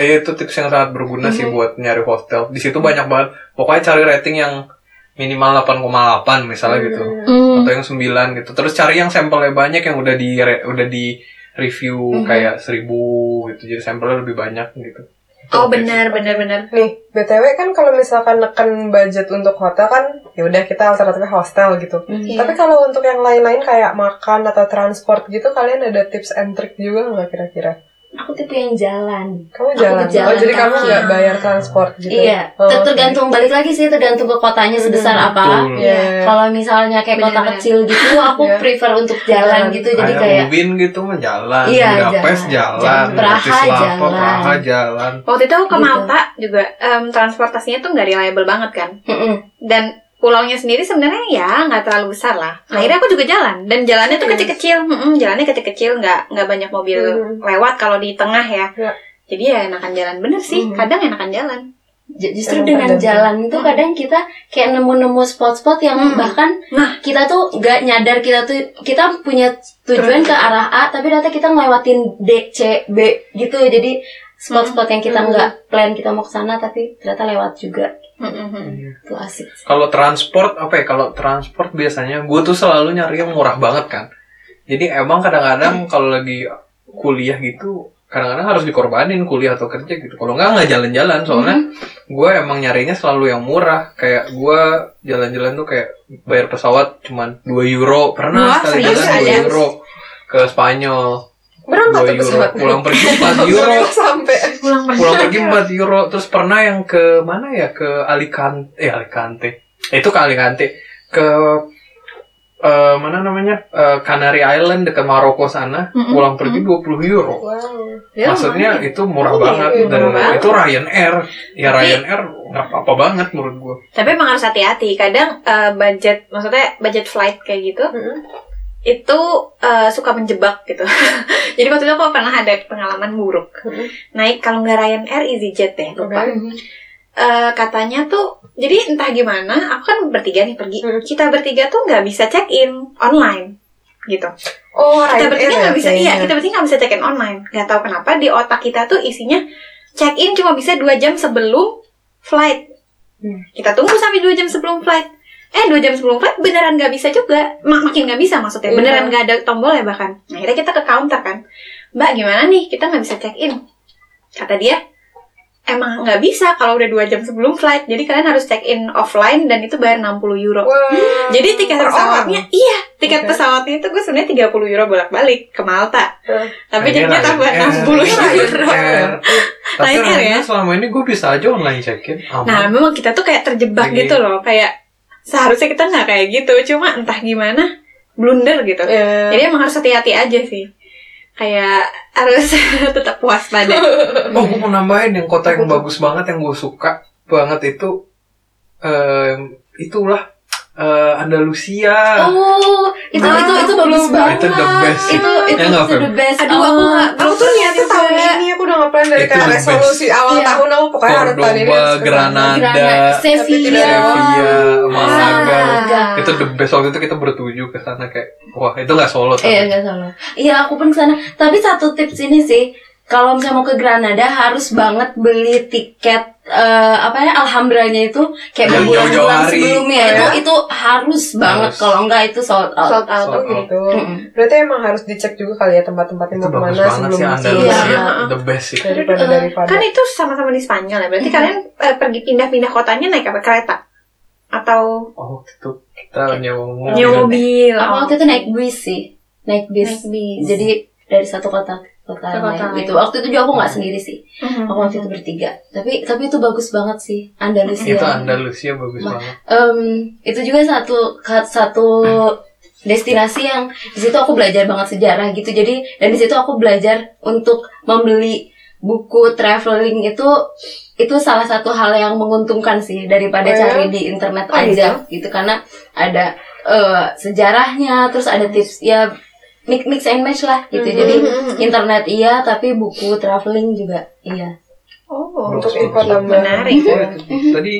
Speaker 4: eh, itu tips yang sangat berguna sih buat nyari hostel. Di situ banyak banget. Pokoknya cari rating yang minimal 8,8 misalnya gitu.
Speaker 3: Hmm.
Speaker 4: Atau yang 9 gitu. Terus cari yang sampelnya banyak yang udah di re- udah di
Speaker 3: Mhm.
Speaker 4: review kayak 1000 gitu. Jadi sampelnya lebih banyak gitu.
Speaker 2: Oh benar benar benar.
Speaker 1: Nih, BTW kan kalau misalkan neken budget untuk hotel kan ya udah kita alternatifnya hostel gitu.
Speaker 2: Iya.
Speaker 1: Tapi kalau untuk yang lain-lain kayak makan atau transport gitu kalian ada tips and trick juga nggak kira-kira?
Speaker 3: Aku tipe yang jalan.
Speaker 1: Kamu
Speaker 3: Aku
Speaker 1: jalan.
Speaker 3: jalan
Speaker 1: oh, jadi kamu
Speaker 3: kaki.
Speaker 1: nggak bayar transport gitu.
Speaker 3: Iya,
Speaker 1: Oh,
Speaker 3: Ter-
Speaker 1: oke.
Speaker 3: tergantung balik lagi sih tergantung ke kotanya sebesar apa.
Speaker 4: Betul.
Speaker 1: Iya.
Speaker 3: Kalau misalnya kayak kota
Speaker 2: Benar-benar.
Speaker 3: kecil gitu, aku
Speaker 1: Iya.
Speaker 3: prefer untuk jalan
Speaker 1: Jalan.
Speaker 3: gitu. Jadi
Speaker 4: Kayak
Speaker 3: kayak
Speaker 4: Lubin gitu mah jalan,
Speaker 3: Iya,
Speaker 4: Budapest
Speaker 3: jalan.
Speaker 4: jalan,
Speaker 3: Jalan. Praha
Speaker 4: Bratislava,
Speaker 3: jalan.
Speaker 4: Praha jalan.
Speaker 2: Waktu itu aku ke
Speaker 3: Gitu.
Speaker 2: Malta juga em, transportasinya tuh nggak reliable banget kan.
Speaker 3: Mm-mm.
Speaker 2: Dan pulaunya sendiri sebenarnya ya nggak terlalu besar lah. Akhirnya aku juga jalan dan jalannya tuh kecil-kecil, Mm-mm, jalannya kecil-kecil nggak nggak banyak mobil
Speaker 1: Hmm.
Speaker 2: lewat kalau di tengah ya.
Speaker 1: Ya.
Speaker 2: Jadi ya enakan jalan bener sih.
Speaker 3: Hmm.
Speaker 2: Kadang enakan jalan.
Speaker 3: Ju-
Speaker 1: Emang
Speaker 3: Justru dengan
Speaker 1: tergantung.
Speaker 3: jalan itu kadang kita kayak nemu-nemu spot-spot yang
Speaker 2: Hmm.
Speaker 3: bahkan
Speaker 2: Nah.
Speaker 3: kita tuh gak nyadar kita tuh kita punya tujuan ke arah A tapi ternyata kita ngelewatin D, C, B gitu. Jadi spot-spot yang kita
Speaker 1: Hmm.
Speaker 3: nggak plan kita mau ke sana tapi ternyata lewat juga.
Speaker 2: Mm-mm.
Speaker 3: Itu asik.
Speaker 4: Kalau transport apa ya? Kalau transport biasanya gue tuh selalu nyari yang murah banget kan. Jadi emang kadang-kadang kalau lagi kuliah gitu, kadang-kadang harus dikorbanin kuliah atau kerja gitu. Kalau nggak nggak jalan-jalan soalnya
Speaker 3: Mhm.
Speaker 4: gue emang nyarinya selalu yang murah. Kayak gue jalan-jalan tuh kayak bayar pesawat cuman 2
Speaker 2: Wah,
Speaker 4: euro pernah sekali
Speaker 2: serius
Speaker 4: jalan
Speaker 2: ada?
Speaker 4: 2 euro ke Spanyol.
Speaker 1: Berapa
Speaker 4: 2
Speaker 1: tuh
Speaker 4: euro
Speaker 1: pesawat?
Speaker 4: pulang pergi 4 euro
Speaker 1: sampai
Speaker 2: Pulang pergi.
Speaker 4: pulang pergi 4 euro terus pernah yang ke mana ya ke Alicante eh Alicante Eh, itu ke Alicante ke eh, mana namanya Eh, Canary Island dekat Maroko sana
Speaker 2: Mm-mm.
Speaker 4: pulang pergi 20 euro
Speaker 1: wow.
Speaker 2: Mm-hmm. Ya,
Speaker 4: maksudnya
Speaker 2: lumayan.
Speaker 4: itu murah
Speaker 1: Iya,
Speaker 4: banget
Speaker 1: iya,
Speaker 4: dan
Speaker 1: murah banget.
Speaker 4: itu Ryanair ya
Speaker 2: Tapi-
Speaker 4: Ryanair nggak apa-apa banget menurut gua
Speaker 2: Tapi emang harus hati-hati. Kadang eh, budget, maksudnya budget flight kayak gitu,
Speaker 1: Mm-mm.
Speaker 2: itu eh, suka menjebak gitu. Jadi waktu itu aku pernah ada pengalaman buruk.
Speaker 1: Mm-mm.
Speaker 2: Naik kalau nggak Ryanair, EasyJet deh.
Speaker 1: Oke.
Speaker 2: Lupa.
Speaker 3: Hmm.
Speaker 2: Eh, katanya tuh, jadi entah gimana, aku kan bertiga nih pergi.
Speaker 1: Hmm.
Speaker 2: Kita bertiga tuh nggak bisa check-in online gitu.
Speaker 1: Oh,
Speaker 2: Kita
Speaker 1: Ryanair
Speaker 2: bertiga
Speaker 1: ya
Speaker 2: nggak bisa, iya
Speaker 1: kayaknya.
Speaker 2: kita bertiga nggak bisa check-in online. Nggak tahu kenapa di otak kita tuh isinya check-in cuma bisa dua jam sebelum flight.
Speaker 1: Hmm.
Speaker 2: Kita tunggu sampai dua jam sebelum flight. Eh dua jam sebelum flight beneran nggak bisa juga, Ma- makin nggak bisa maksudnya.
Speaker 1: Iya.
Speaker 2: Beneran nggak ada tombolnya bahkan. Nah, akhirnya kita ke counter kan, Mbak gimana nih kita nggak bisa check-in? Kata dia, emang nggak bisa kalau udah dua jam sebelum flight. Jadi kalian harus check-in offline dan itu bayar 60 euro.
Speaker 1: Wow.
Speaker 2: Jadi tiket
Speaker 1: Per orang.
Speaker 2: pesawatnya, iya, tiket
Speaker 1: Oke.
Speaker 2: pesawatnya itu gue sebenarnya 30 euro bolak-balik ke Malta.
Speaker 1: Hmm.
Speaker 2: Tapi jadinya tambah
Speaker 4: Ryanair,
Speaker 2: 60
Speaker 3: Iya,
Speaker 2: euro.
Speaker 4: Ryanair.
Speaker 2: Ryanair
Speaker 4: tapi
Speaker 2: ya?
Speaker 4: Ryanair selama ini gue bisa aja online check-in
Speaker 2: Nah,
Speaker 4: aman
Speaker 2: memang kita tuh kayak terjebak
Speaker 4: Lagi.
Speaker 2: gitu loh, kayak seharusnya kita nggak kayak gitu, cuma entah gimana blunder gitu.
Speaker 1: Iya.
Speaker 2: Jadi emang harus hati-hati aja sih. Kayak harus tetap puas pada.
Speaker 4: Oh, gue mau nambahin yang kota yang bagus banget yang gue suka banget itu em, itulah eh, Andalusia.
Speaker 3: Oh, itu
Speaker 2: Ah,
Speaker 3: itu itu
Speaker 1: belum
Speaker 3: bagus banget.
Speaker 4: itu the best sih.
Speaker 3: Itu itu
Speaker 4: Ya nggak,
Speaker 3: itu
Speaker 4: Feb?
Speaker 3: the best.
Speaker 2: Aduh, aku
Speaker 3: Oh.
Speaker 2: nggak
Speaker 1: Aku tuh niatnya tahun ini aku udah ngeplan dari
Speaker 4: Itu
Speaker 1: kayak
Speaker 4: the
Speaker 1: resolusi awal
Speaker 3: Iya.
Speaker 1: tahun aku pokoknya harus tahun ini
Speaker 4: Cordoba,
Speaker 1: harus ke sana.
Speaker 4: Granada.
Speaker 3: Granada,
Speaker 1: Tapi
Speaker 3: Sevilla,
Speaker 1: tidak
Speaker 4: Sevilla, Malaga.
Speaker 3: Malaga.
Speaker 2: Ah.
Speaker 4: Itu the best waktu itu kita bertuju ke sana kayak wah itu nggak solo tapi.
Speaker 3: Iya nggak salah. Iya aku pun kesana. Tapi satu tips ini sih, kalau misalnya mau ke Granada harus banget beli tiket eh, apa ya alhambranya itu kayak
Speaker 4: Yang jauh-jauh
Speaker 3: berbulan-bulan
Speaker 4: hari.
Speaker 3: sebelumnya
Speaker 4: Iya.
Speaker 3: itu itu harus banget
Speaker 4: Harus.
Speaker 3: kalau enggak itu sold out.
Speaker 2: sold out.
Speaker 1: Oh,
Speaker 4: Sold out.
Speaker 1: gitu.
Speaker 3: Mm-mm.
Speaker 1: Berarti emang harus dicek juga kali ya tempat-tempatnya mau
Speaker 4: Itu bagus
Speaker 1: kemana
Speaker 4: banget
Speaker 1: sebelum
Speaker 4: sih
Speaker 1: Iya.
Speaker 4: Andalusia,
Speaker 2: Iya.
Speaker 4: the best sih.
Speaker 1: daripada
Speaker 3: Eh,
Speaker 1: daripada.
Speaker 2: Kan itu sama-sama di Spanyol ya.
Speaker 3: Iya.
Speaker 2: Berarti kalian eh, pergi pindah-pindah kotanya naik apa kereta? Atau
Speaker 4: Oh, waktu itu kita nyewa mobil.
Speaker 2: nyewa mobil?
Speaker 3: Aku
Speaker 2: Oh.
Speaker 3: waktu itu naik bis sih, naik bis.
Speaker 2: Naik bis.
Speaker 3: Jadi dari satu kota ke kota
Speaker 2: Ke kota
Speaker 3: lain
Speaker 2: lain.
Speaker 3: gitu. Waktu itu juga aku nggak sendiri sih.
Speaker 2: Mhm.
Speaker 3: Aku waktu itu bertiga. Tapi tapi itu bagus banget sih Andalusia.
Speaker 4: Itu Andalusia bagus
Speaker 3: Ma-
Speaker 4: banget.
Speaker 3: Em, itu juga satu ka- satu destinasi yang di situ aku belajar banget sejarah gitu jadi dan di situ aku belajar untuk membeli buku traveling itu itu salah satu hal yang menguntungkan sih
Speaker 1: Oh
Speaker 3: daripada
Speaker 1: ya?
Speaker 3: cari di internet
Speaker 1: Oh
Speaker 3: aja gitu karena ada eh, sejarahnya terus ada tips ya mix mix and match lah gitu
Speaker 1: Mhm.
Speaker 3: jadi internet iya tapi buku traveling juga iya
Speaker 2: Oh,
Speaker 1: Untuk
Speaker 4: Terus,
Speaker 1: info
Speaker 4: terus.
Speaker 1: tambah.
Speaker 2: menarik.
Speaker 4: Oh, itu. Tadi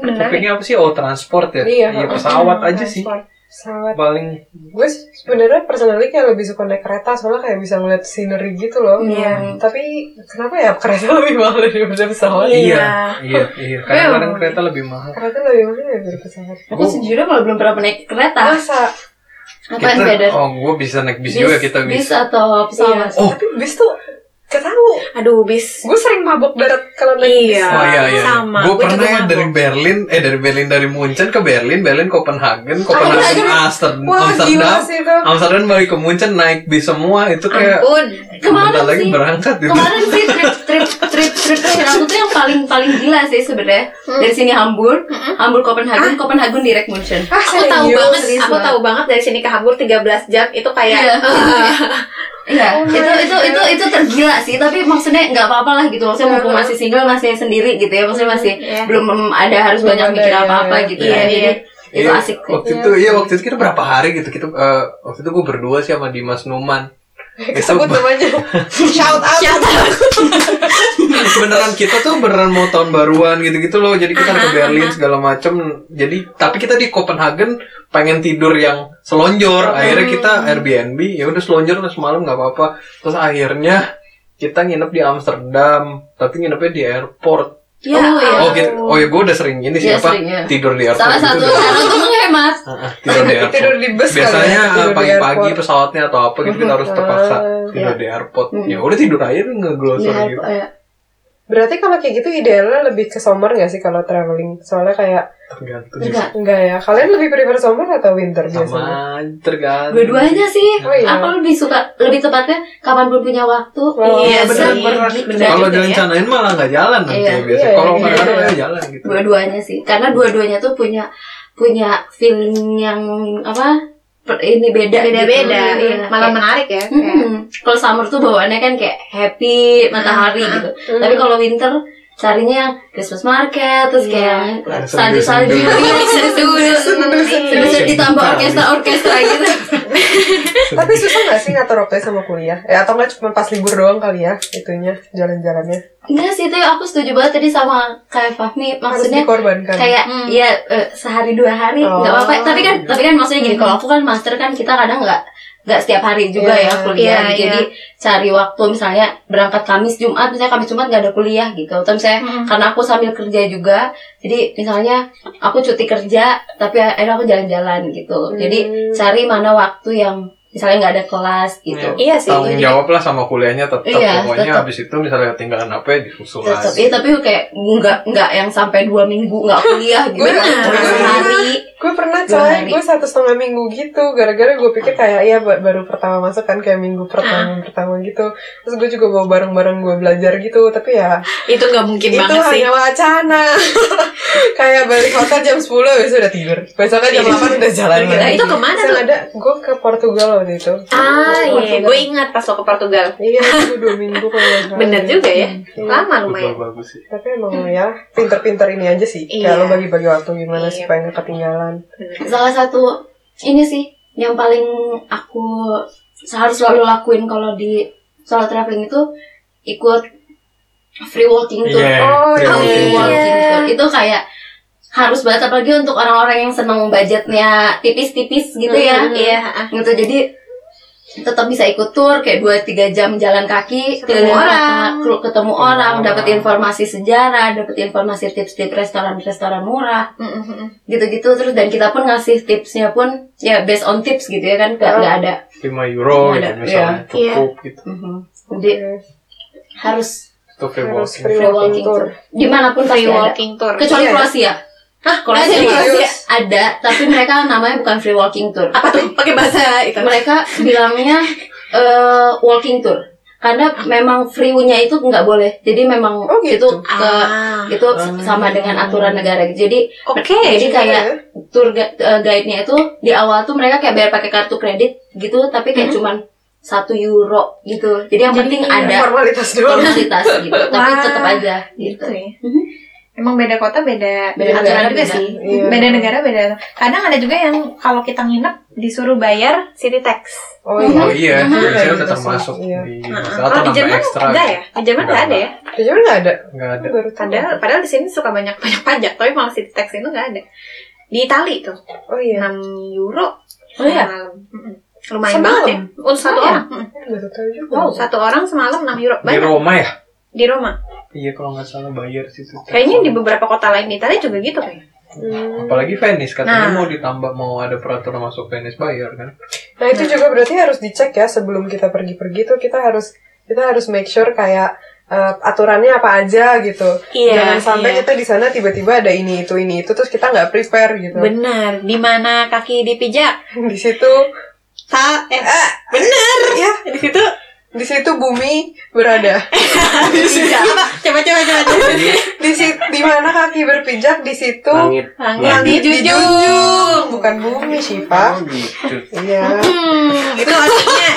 Speaker 2: Menarik.
Speaker 4: topiknya apa sih? Oh, transport ya?
Speaker 1: Iya.
Speaker 4: pesawat aja sih.
Speaker 1: Pesawat.
Speaker 4: Paling
Speaker 1: Gue sebenarnya personally kayak lebih suka naik kereta soalnya kayak bisa ngeliat scenery gitu loh.
Speaker 2: Iya.
Speaker 1: Tapi kenapa ya kereta lebih mahal daripada pesawat?
Speaker 2: Iya.
Speaker 4: iya, iya, iya. Kadang-kadang kereta lebih mahal.
Speaker 1: Kereta lebih mahal daripada pesawat.
Speaker 3: aku sejujurnya malah belum pernah naik kereta
Speaker 1: Masa?
Speaker 3: apa yang beda
Speaker 4: Kita, oh, gue bisa naik bis, juga kita
Speaker 3: bis
Speaker 4: bis.
Speaker 2: Iya.
Speaker 3: atau pesawat
Speaker 4: Oh.
Speaker 1: Iya. Tapi bis tuh gak tau.
Speaker 2: Aduh, bis.
Speaker 1: Gue sering mabok darat kalau naik
Speaker 2: Iya.
Speaker 1: bis.
Speaker 4: Oh iya iya.
Speaker 2: Sama, gua
Speaker 4: Gue
Speaker 2: juga
Speaker 4: pernah ya
Speaker 2: mabok.
Speaker 4: dari Berlin, eh dari Berlin dari Munchen ke Berlin, Berlin Copenhagen,
Speaker 1: Copenhagen.
Speaker 4: Copenhagen Amsterdam,
Speaker 1: Wah gila
Speaker 4: Amsterdam,
Speaker 1: sih itu.
Speaker 4: Amsterdam balik ke Munchen naik bis semua itu kayak
Speaker 2: Ampun.
Speaker 3: kemarin
Speaker 4: bentar lagi
Speaker 3: sih
Speaker 4: berangkat gitu.
Speaker 3: kemarin sih trip trip trip trip terakhir aku tuh yang paling paling gila sih sebenarnya dari sini Hamburg Hamburg Copenhagen Copenhagen direct München
Speaker 1: Ah,
Speaker 2: Aku tahu
Speaker 1: serius?
Speaker 2: banget,
Speaker 3: serius
Speaker 2: aku
Speaker 3: banget.
Speaker 2: tahu banget dari sini ke Hamburg 13 jam itu
Speaker 3: Iya.
Speaker 2: kayak
Speaker 3: Iya, itu itu itu itu tergila sih, tapi maksudnya nggak apa-apa lah gitu. Maksudnya mumpung masih single masih sendiri gitu ya, maksudnya masih
Speaker 2: Iya.
Speaker 3: belum mm, ada harus
Speaker 1: Belum
Speaker 3: banyak
Speaker 1: ada,
Speaker 3: mikir
Speaker 1: iya,
Speaker 3: apa-apa
Speaker 1: iya.
Speaker 3: gitu.
Speaker 4: Iya,
Speaker 3: ya.
Speaker 2: iya.
Speaker 3: Jadi itu asik sih.
Speaker 4: Waktu itu iya waktu itu kita berapa hari gitu kita eh, waktu itu gue berdua sih sama Dimas Numan.
Speaker 1: Sebut namanya. Shout out.
Speaker 2: Shout out.
Speaker 4: beneran kita tuh beneran mau tahun baruan gitu-gitu loh jadi kita ke Berlin segala macem jadi tapi kita di Copenhagen pengen tidur yang selonjor akhirnya kita Airbnb ya udah selonjor terus malam nggak apa-apa terus akhirnya kita nginep di Amsterdam tapi nginepnya di airport
Speaker 3: Ya,
Speaker 2: Oh,
Speaker 3: iya.
Speaker 4: oh gitu oh ya gue udah sering ini sih
Speaker 3: Iya,
Speaker 4: apa
Speaker 3: sering, iya.
Speaker 4: tidur di airport
Speaker 3: Salah
Speaker 4: gitu
Speaker 3: satu
Speaker 4: udah
Speaker 3: cara
Speaker 4: sering.
Speaker 3: untuk menghemat.
Speaker 4: Heeh, tidur di airport
Speaker 1: Tidur di bus kali ya,
Speaker 4: biasanya eh,
Speaker 1: tidur di
Speaker 4: pagi-pagi
Speaker 1: airport.
Speaker 4: pesawatnya atau apa gitu kita harus terpaksa tidur di airport ya udah tidur aja tuh ngeglosor
Speaker 3: Iya,
Speaker 4: gitu
Speaker 3: iya.
Speaker 1: Berarti kalau kayak gitu idealnya lebih ke summer gak sih kalau traveling? Soalnya kayak
Speaker 4: tergantung
Speaker 3: Enggak,
Speaker 1: enggak ya. Kalian lebih prefer summer atau winter biasanya?
Speaker 4: sama tergantung
Speaker 3: dua-duanya sih.
Speaker 1: Oh iya.
Speaker 3: Aku lebih suka lebih tepatnya kapan pun punya waktu.
Speaker 1: Oh,
Speaker 2: Iya,
Speaker 4: beneran,
Speaker 2: sih.
Speaker 4: beneran.
Speaker 2: Bener
Speaker 4: kalau
Speaker 2: juga ya.
Speaker 4: direncanain malah nggak jalan nanti
Speaker 3: Iya.
Speaker 4: biasanya
Speaker 1: Iya,
Speaker 4: kalau
Speaker 1: iya.
Speaker 4: nggak ada ya jalan gitu
Speaker 3: dua-duanya sih karena dua-duanya tuh punya punya feeling yang apa per- ini beda
Speaker 2: Beda-beda,
Speaker 3: gitu. Iya,
Speaker 2: malah
Speaker 3: kayak-
Speaker 2: menarik ya. kayak.
Speaker 3: Hmm, kalau summer tuh bawaannya kan kayak happy matahari gitu tapi kalau winter carinya yang Christmas market terus kayak yang
Speaker 4: Ada
Speaker 3: salju-salju
Speaker 4: sendu-sendu.
Speaker 3: Iya, sendu-sendu. Sendu-sendu ditambah orkestra-orkestra gitu
Speaker 1: Tapi susah gak sih ngatur waktunya sama kuliah? Ya, atau gak cuma pas libur doang kali ya, itunya, jalan-jalannya.
Speaker 3: Enggak sih itu aku setuju banget tadi sama kayak Fahmi
Speaker 1: Harus
Speaker 3: maksudnya
Speaker 1: dikorbankan.
Speaker 3: kayak
Speaker 2: Hmm.
Speaker 3: ya eh, sehari dua hari
Speaker 1: Kan? Oh.
Speaker 3: nggak apa-apa tapi kan tapi kan maksudnya gini kalau aku kan master kan kita kadang nggak nggak setiap hari juga
Speaker 1: Iya.
Speaker 3: ya kuliah
Speaker 2: Iya,
Speaker 3: jadi cari waktu misalnya berangkat Kamis Jumat misalnya Kamis Jumat nggak ada kuliah gitu atau misalnya
Speaker 2: Mm.
Speaker 3: karena aku sambil kerja juga jadi misalnya aku cuti kerja tapi akhirnya aku jalan-jalan gitu
Speaker 1: Hmm.
Speaker 3: jadi cari mana waktu yang misalnya nggak ada kelas gitu
Speaker 2: Iya
Speaker 4: Iya.
Speaker 2: sih.
Speaker 4: tanggung jawab lah sama kuliahnya tetap
Speaker 3: Iya,
Speaker 4: pokoknya
Speaker 3: tetap.
Speaker 4: habis itu misalnya ketinggalan apa ya disusul
Speaker 3: Tetep,
Speaker 4: lagi
Speaker 3: iya, tapi kayak nggak nggak yang sampai dua minggu nggak kuliah gitu
Speaker 1: Bener.
Speaker 3: cuma
Speaker 1: Bener.
Speaker 3: sehari
Speaker 1: Gue pernah coy,
Speaker 3: Dua hari.
Speaker 1: gue satu setengah minggu gitu Gara-gara gue pikir kayak, iya ba- baru pertama masuk kan Kayak
Speaker 2: Ah.
Speaker 1: minggu pertama-pertama gitu Terus gue juga bawa barang-barang gue belajar gitu Tapi ya,
Speaker 2: Itu nggak mungkin
Speaker 1: itu
Speaker 2: banget sih.
Speaker 1: hanya wacana Kayak balik hotel jam 10, besok udah tidur Besoknya jam 8 udah jalan
Speaker 2: Nah,
Speaker 1: lagi
Speaker 2: itu kemana
Speaker 1: Terus
Speaker 2: tuh?
Speaker 1: ada, gue ke Portugal waktu itu
Speaker 2: Ah iya,
Speaker 1: Portugal.
Speaker 2: gue ingat pas lo ke Portugal.
Speaker 1: Iya, itu dua minggu kalau nggak salah. Iya,
Speaker 2: Bener juga ya, lama
Speaker 4: betul
Speaker 2: lumayan.
Speaker 4: bagus sih
Speaker 1: Tapi emang ya, pinter-pinter ini aja sih.
Speaker 2: Iya.
Speaker 1: Kayak lo bagi-bagi waktu gimana
Speaker 2: Iya.
Speaker 1: supaya nggak ketinggalan.
Speaker 3: salah satu ini sih yang paling aku harus selalu lakuin kalau di soal traveling itu ikut free walking tour.
Speaker 4: Iya,
Speaker 1: Oh,
Speaker 4: free
Speaker 1: iya.
Speaker 4: walking
Speaker 3: Free
Speaker 4: tour.
Speaker 3: walking tour itu kayak harus banget apalagi untuk orang-orang yang seneng budgetnya tipis-tipis gitu ya.
Speaker 2: Iya.
Speaker 3: Gitu jadi tetap bisa ikut tour kayak 2 3 jam jalan kaki
Speaker 2: Ketemu
Speaker 3: keliling kota,
Speaker 2: orang.
Speaker 3: kelu- ketemu orang,
Speaker 4: orang.
Speaker 3: dapat informasi sejarah, dapat informasi tips-tips restoran-restoran murah gitu-gitu terus dan kita pun ngasih tipsnya pun ya based on tips gitu ya
Speaker 1: Iya.
Speaker 3: kan nggak nggak ada
Speaker 4: 5 euro
Speaker 3: Nggak
Speaker 4: gitu
Speaker 3: ada,
Speaker 4: misalnya
Speaker 2: iya.
Speaker 4: cukup gitu
Speaker 1: Mm-hmm.
Speaker 3: Mhm. jadi harus
Speaker 4: itu free
Speaker 1: Harus
Speaker 4: walking
Speaker 1: free
Speaker 3: free walking
Speaker 1: tour.
Speaker 3: tour dimanapun pasti
Speaker 2: Free
Speaker 3: ada
Speaker 2: walking tour.
Speaker 3: kecuali
Speaker 1: Iya.
Speaker 3: Kroasia
Speaker 2: Hah,
Speaker 3: Kroasia
Speaker 2: nggak ada di
Speaker 1: Kroasia.
Speaker 3: Kroasia ada tapi mereka namanya bukan free walking tour
Speaker 1: Ah,
Speaker 2: Apa tuh? Pakai bahasa
Speaker 1: gitu.
Speaker 2: itu.
Speaker 3: mereka bilangnya eh, walking tour karena memang free-nya itu nggak boleh jadi memang
Speaker 1: Oh, gitu. Ah.
Speaker 3: itu ke itu sama dengan aturan negara jadi
Speaker 2: Ah. Oke.
Speaker 3: jadi
Speaker 1: Iya,
Speaker 3: kayak tour gu- eh, guide-nya itu di awal tuh mereka kayak bayar pakai kartu kredit gitu tapi kayak cuman satu euro gitu jadi yang
Speaker 2: Jadi
Speaker 3: penting
Speaker 1: iya.
Speaker 2: ini
Speaker 3: ada
Speaker 1: formalitas doang
Speaker 3: formalitas gitu tapi
Speaker 2: Wah.
Speaker 3: tetap aja gitu
Speaker 2: gitu ya
Speaker 3: Mhm.
Speaker 2: emang beda kota beda
Speaker 3: Beda
Speaker 2: beda
Speaker 3: negara
Speaker 2: aturan juga
Speaker 3: beda.
Speaker 2: sih
Speaker 1: Iya.
Speaker 2: beda negara beda kadang ada juga yang kalau kita nginep disuruh bayar city tax Nah,
Speaker 1: oh iya
Speaker 4: Oh iya,
Speaker 3: Mhm.
Speaker 4: biasanya udah
Speaker 1: Iya.
Speaker 4: termasuk di atau
Speaker 2: kalau di
Speaker 4: nambah
Speaker 2: Jerman
Speaker 4: ekstra.
Speaker 2: enggak ya di Jerman
Speaker 4: Enggak,
Speaker 2: nggak ada ya
Speaker 1: di Jerman nggak ada
Speaker 4: Nggak ada.
Speaker 1: baru tahu.
Speaker 2: padahal padahal di sini suka banyak banyak pajak tapi malah city tax itu nggak ada di Itali tuh Nah.
Speaker 1: oh iya
Speaker 2: 6 euro
Speaker 3: Oh iya?
Speaker 2: semalam. Mm-mm. lumayan
Speaker 1: Semalam?
Speaker 2: banget ya untuk satu
Speaker 3: Oh iya?
Speaker 2: orang
Speaker 1: baru tahu juga
Speaker 2: wow satu orang semalam 6 euro
Speaker 4: Di
Speaker 2: banyak
Speaker 4: Roma ya?
Speaker 2: di Roma
Speaker 4: Iya kalau nggak salah bayar situ.
Speaker 2: kayaknya di beberapa kota lain di Italia juga gitu kayaknya
Speaker 1: Hmm.
Speaker 4: Apalagi Venice
Speaker 2: Nah.
Speaker 4: katanya mau ditambah mau ada peraturan masuk Venice bayar kan?
Speaker 1: Nah itu juga berarti harus dicek ya sebelum kita pergi-pergi tuh kita harus kita harus make sure kayak eh, aturannya apa aja gitu.
Speaker 2: Iya,
Speaker 1: Jangan sampai
Speaker 2: iya.
Speaker 1: kita di sana tiba-tiba ada ini itu ini itu terus kita nggak prepare gitu.
Speaker 2: benar di mana kaki dipijak
Speaker 1: Di situ
Speaker 2: tak eh
Speaker 1: eh,
Speaker 2: benar
Speaker 1: ya
Speaker 2: di situ
Speaker 1: di situ bumi berada.
Speaker 2: Iya. coba coba coba coba.
Speaker 1: Di situ di mana kaki berpijak di situ
Speaker 5: Langit.
Speaker 1: langit
Speaker 2: Langit dijunjung.
Speaker 1: dijunjung. bukan bumi sih
Speaker 5: Oh
Speaker 1: pak.
Speaker 5: gitu.
Speaker 1: Iya.
Speaker 2: Hmm, itu artinya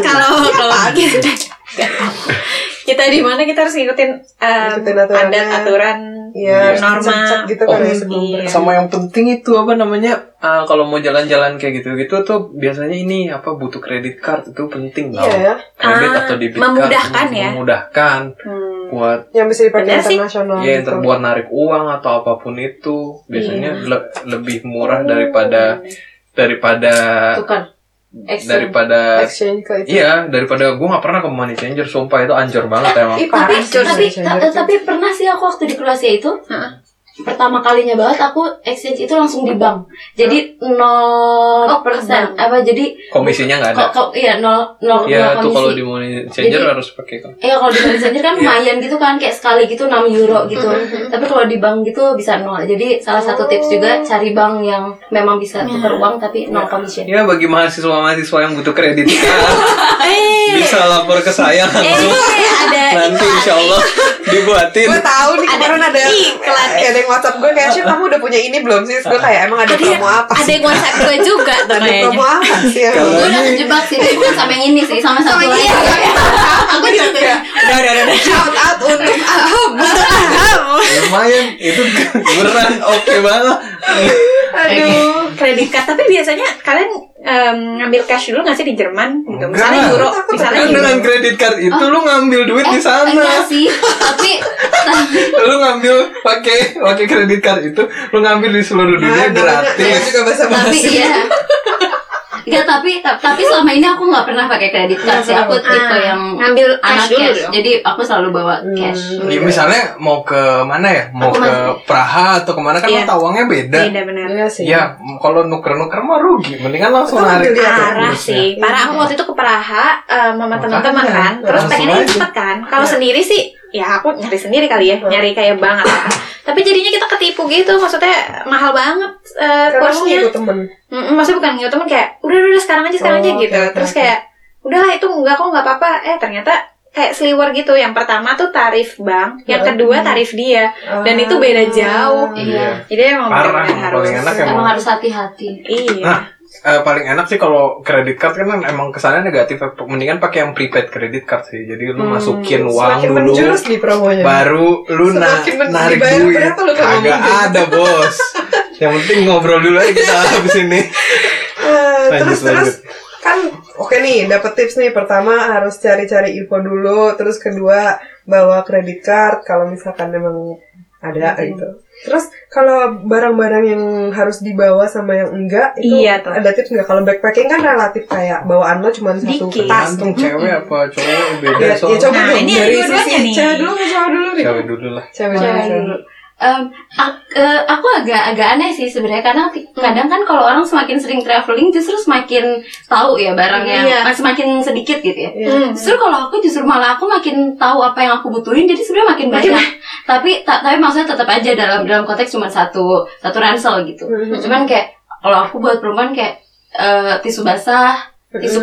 Speaker 2: kalau kalau kita kita di mana kita harus ngikutin um,
Speaker 1: Ngikutin aturannya.
Speaker 2: adat aturan
Speaker 1: Iya, harus
Speaker 2: Norma.
Speaker 1: dicek gitu kan ya sebelum
Speaker 2: Iya.
Speaker 1: berangkat.
Speaker 4: Sama yang penting itu apa namanya? ah, kalau mau jalan-jalan kayak gitu-gitu tuh biasanya ini apa butuh kredit card itu penting
Speaker 1: Iya
Speaker 4: tau.
Speaker 1: ya,
Speaker 4: Kredit
Speaker 2: Ah,
Speaker 4: atau debit
Speaker 2: memudahkan
Speaker 4: card,
Speaker 2: ya.
Speaker 4: Memudahkan
Speaker 2: Hmm.
Speaker 4: buat
Speaker 1: yang bisa dipakai
Speaker 2: Bener sih.
Speaker 1: internasional
Speaker 4: ya
Speaker 1: gitu.
Speaker 4: buat narik uang atau apapun itu biasanya
Speaker 2: Iya.
Speaker 4: le- lebih murah daripada daripada
Speaker 3: tukar exchange
Speaker 4: daripada
Speaker 1: Exchange ke itu.
Speaker 4: Iya, daripada gue gak pernah ke money changer, sumpah itu anjir banget emang.
Speaker 1: Ih, parah
Speaker 3: tapi
Speaker 1: sih,
Speaker 3: tapi
Speaker 1: money changer
Speaker 3: ta-
Speaker 1: tuh.
Speaker 3: tapi pernah sih aku waktu di Kroasia itu
Speaker 2: Heeh.
Speaker 3: pertama kalinya banget aku exchange itu langsung di bank jadi
Speaker 2: Oh,
Speaker 3: nol
Speaker 2: ke bank.
Speaker 3: persen apa jadi
Speaker 4: Komisinya nggak ada.
Speaker 3: kok kok iya nol nol
Speaker 4: Iya,
Speaker 3: nol
Speaker 4: tuh kalau
Speaker 3: komisi
Speaker 4: di money changer
Speaker 3: Jadi-
Speaker 4: harus pakai kan.
Speaker 3: Iya kalau di Bali Center kan lumayan gitu kan kayak sekali gitu 6 euro gitu. Tapi kalau di bank gitu bisa nol. Jadi salah satu tips juga cari bank yang memang bisa tukar uang tapi nol commission.
Speaker 4: Ya bagi mahasiswa-mahasiswa yang butuh kredit card,
Speaker 2: Eh,
Speaker 4: bisa lapor ke saya langsung.
Speaker 2: eh, ada
Speaker 4: Nanti
Speaker 2: iklan.
Speaker 4: insya Allah dibuatin.
Speaker 1: gue tahu nih
Speaker 2: Ada
Speaker 1: kemarin ada
Speaker 2: iklan.
Speaker 1: kayak ada yang WhatsApp gue kayak sih kamu udah punya ini belum sih Terus gue kayak emang ada
Speaker 2: Ada yang,
Speaker 1: promo apa
Speaker 2: ada
Speaker 1: sih
Speaker 2: yang WhatsApp gue juga tuh
Speaker 1: ada
Speaker 2: kayaknya.
Speaker 1: promo apa sih ya
Speaker 4: Kalau
Speaker 3: Gue udah terjebak sih tapi bukan sama yang ini sih sama satu lagi. Aku juga
Speaker 1: ya udah udah udah shout out untuk
Speaker 2: Oh,
Speaker 1: Aham
Speaker 4: lumayan, itu beneran oke banget.
Speaker 1: aduh
Speaker 2: kredit card tapi biasanya kalian em, ngambil cash dulu nggak sih di Jerman gitu
Speaker 4: Enggak.
Speaker 2: misalnya euro
Speaker 1: Aku
Speaker 2: misalnya
Speaker 4: Kan
Speaker 2: euro.
Speaker 4: dengan kredit card itu lu ngambil duit di
Speaker 3: Eh, enggak
Speaker 4: sana,
Speaker 3: Oh, iya sih. Tapi tapi
Speaker 4: lu ngambil pakai pakai kredit card itu, lu ngambil di seluruh
Speaker 1: nah,
Speaker 4: dunia
Speaker 1: namanya
Speaker 4: gratis.
Speaker 1: juga bahasa
Speaker 3: tapi
Speaker 1: basi
Speaker 3: iya. Enggak tapi ta- tapi selama ini aku nggak pernah pakai kredit card sih. Aku tipe
Speaker 2: Ah,
Speaker 3: yang
Speaker 2: ngambil
Speaker 3: anak ya.
Speaker 2: cash dulu
Speaker 3: cash.
Speaker 2: dong.
Speaker 3: Jadi aku selalu bawa cash.
Speaker 1: Hmm.
Speaker 4: Ya misalnya mau ke mana ya? Mau
Speaker 3: Aku
Speaker 4: ke
Speaker 3: masih-
Speaker 4: Praha atau kemana kan
Speaker 2: Iya.
Speaker 4: mata uangnya beda.
Speaker 2: beda benar
Speaker 1: iya sih
Speaker 4: Ya, m- kalau nuker-nuker mah rugi. Mendingan langsung
Speaker 1: Itu
Speaker 4: narik.
Speaker 1: beli
Speaker 4: aja
Speaker 2: parah
Speaker 4: bonusnya.
Speaker 2: sih
Speaker 1: Iya.
Speaker 2: parah aku waktu itu ke Praha eh, sama
Speaker 4: Makanya,
Speaker 2: teman-teman
Speaker 1: ya,
Speaker 2: kan terus
Speaker 4: langsung
Speaker 2: pengennya
Speaker 4: aja.
Speaker 2: cepet kan kalau
Speaker 1: Iya.
Speaker 2: sendiri sih ya aku nyari sendiri kali ya nyari kayak banget tapi jadinya kita ketipu gitu maksudnya mahal banget eh,
Speaker 1: karena aku
Speaker 2: kursnya
Speaker 1: ngikut temen
Speaker 2: Mm-mm, maksudnya bukan ngiyo temen kayak udah udah udah, sekarang aja sekarang
Speaker 1: Oh,
Speaker 2: aja gitu
Speaker 1: oke, oke,
Speaker 2: terus
Speaker 1: oke.
Speaker 2: kayak udahlah itu enggak kok nggak apa-apa eh ternyata kayak seliwer gitu yang pertama tuh tarif bank
Speaker 1: Iya.
Speaker 2: yang kedua tarif dia dan itu beda
Speaker 1: Ah.
Speaker 2: jauh
Speaker 4: Iya.
Speaker 2: jadi emang
Speaker 4: Parah,
Speaker 2: benar-benar
Speaker 4: paling enak emang.
Speaker 3: Emang harus hati-hati.
Speaker 2: iya
Speaker 4: Nah, eh, paling enak sih kalau kredit card kan emang kesannya negatif. Mendingan pakai yang prepaid kredit card sih. Jadi lu masukin uang
Speaker 1: Hmm, semakin
Speaker 4: dulu,
Speaker 1: menjurus di promonya
Speaker 4: baru lu na-
Speaker 1: Semakin men-
Speaker 4: narik
Speaker 1: dibayar
Speaker 4: duit.
Speaker 1: berapa lu kalau gitu?
Speaker 4: Agak
Speaker 1: minjem?
Speaker 4: ada bos. yang penting ngobrol dulu aja kita habis ini.
Speaker 1: Eh,
Speaker 4: Lanjut,
Speaker 1: terus terus
Speaker 4: lanjut.
Speaker 1: kan oke nih dapat tips nih pertama harus cari-cari info dulu terus kedua bawa kredit card kalau misalkan memang ada gitu terus kalau barang-barang yang harus dibawa sama yang enggak itu
Speaker 2: Iya, tuh.
Speaker 1: ada tips nggak kalau backpacking kan relatif kayak bawaan lo cuma satu
Speaker 2: Dikit.
Speaker 1: tas
Speaker 4: Tergantung cewek apa cowok beda
Speaker 1: ya, ya,
Speaker 4: soalnya.
Speaker 1: coba
Speaker 2: Nah,
Speaker 1: dong
Speaker 2: ini
Speaker 1: dari
Speaker 2: ada dua-duanya
Speaker 1: sisi
Speaker 2: nih.
Speaker 1: cewek dulu cewek dulu nih
Speaker 4: Cewek dulu lah.
Speaker 1: cewek dulu
Speaker 3: Cewek
Speaker 1: cewek
Speaker 3: dulu.
Speaker 1: dulu
Speaker 3: Em, ak- eh, aku agak agak aneh sih sebenarnya karena ti-
Speaker 1: Hmm.
Speaker 3: kadang kan kalau orang semakin sering traveling justru semakin tahu ya barangnya
Speaker 2: Iya.
Speaker 3: mas- semakin sedikit gitu ya.
Speaker 1: Iya.
Speaker 2: Hmm.
Speaker 3: Justru kalau aku justru malah aku makin tahu apa yang aku butuhin jadi sebenarnya makin banyak. tapi ta- tapi maksudnya tetap aja dalam dalam konteks cuma satu satu ransel gitu.
Speaker 1: Mhm.
Speaker 3: Cuman kayak kalau aku buat perempuan kayak eh, tisu basah, tisu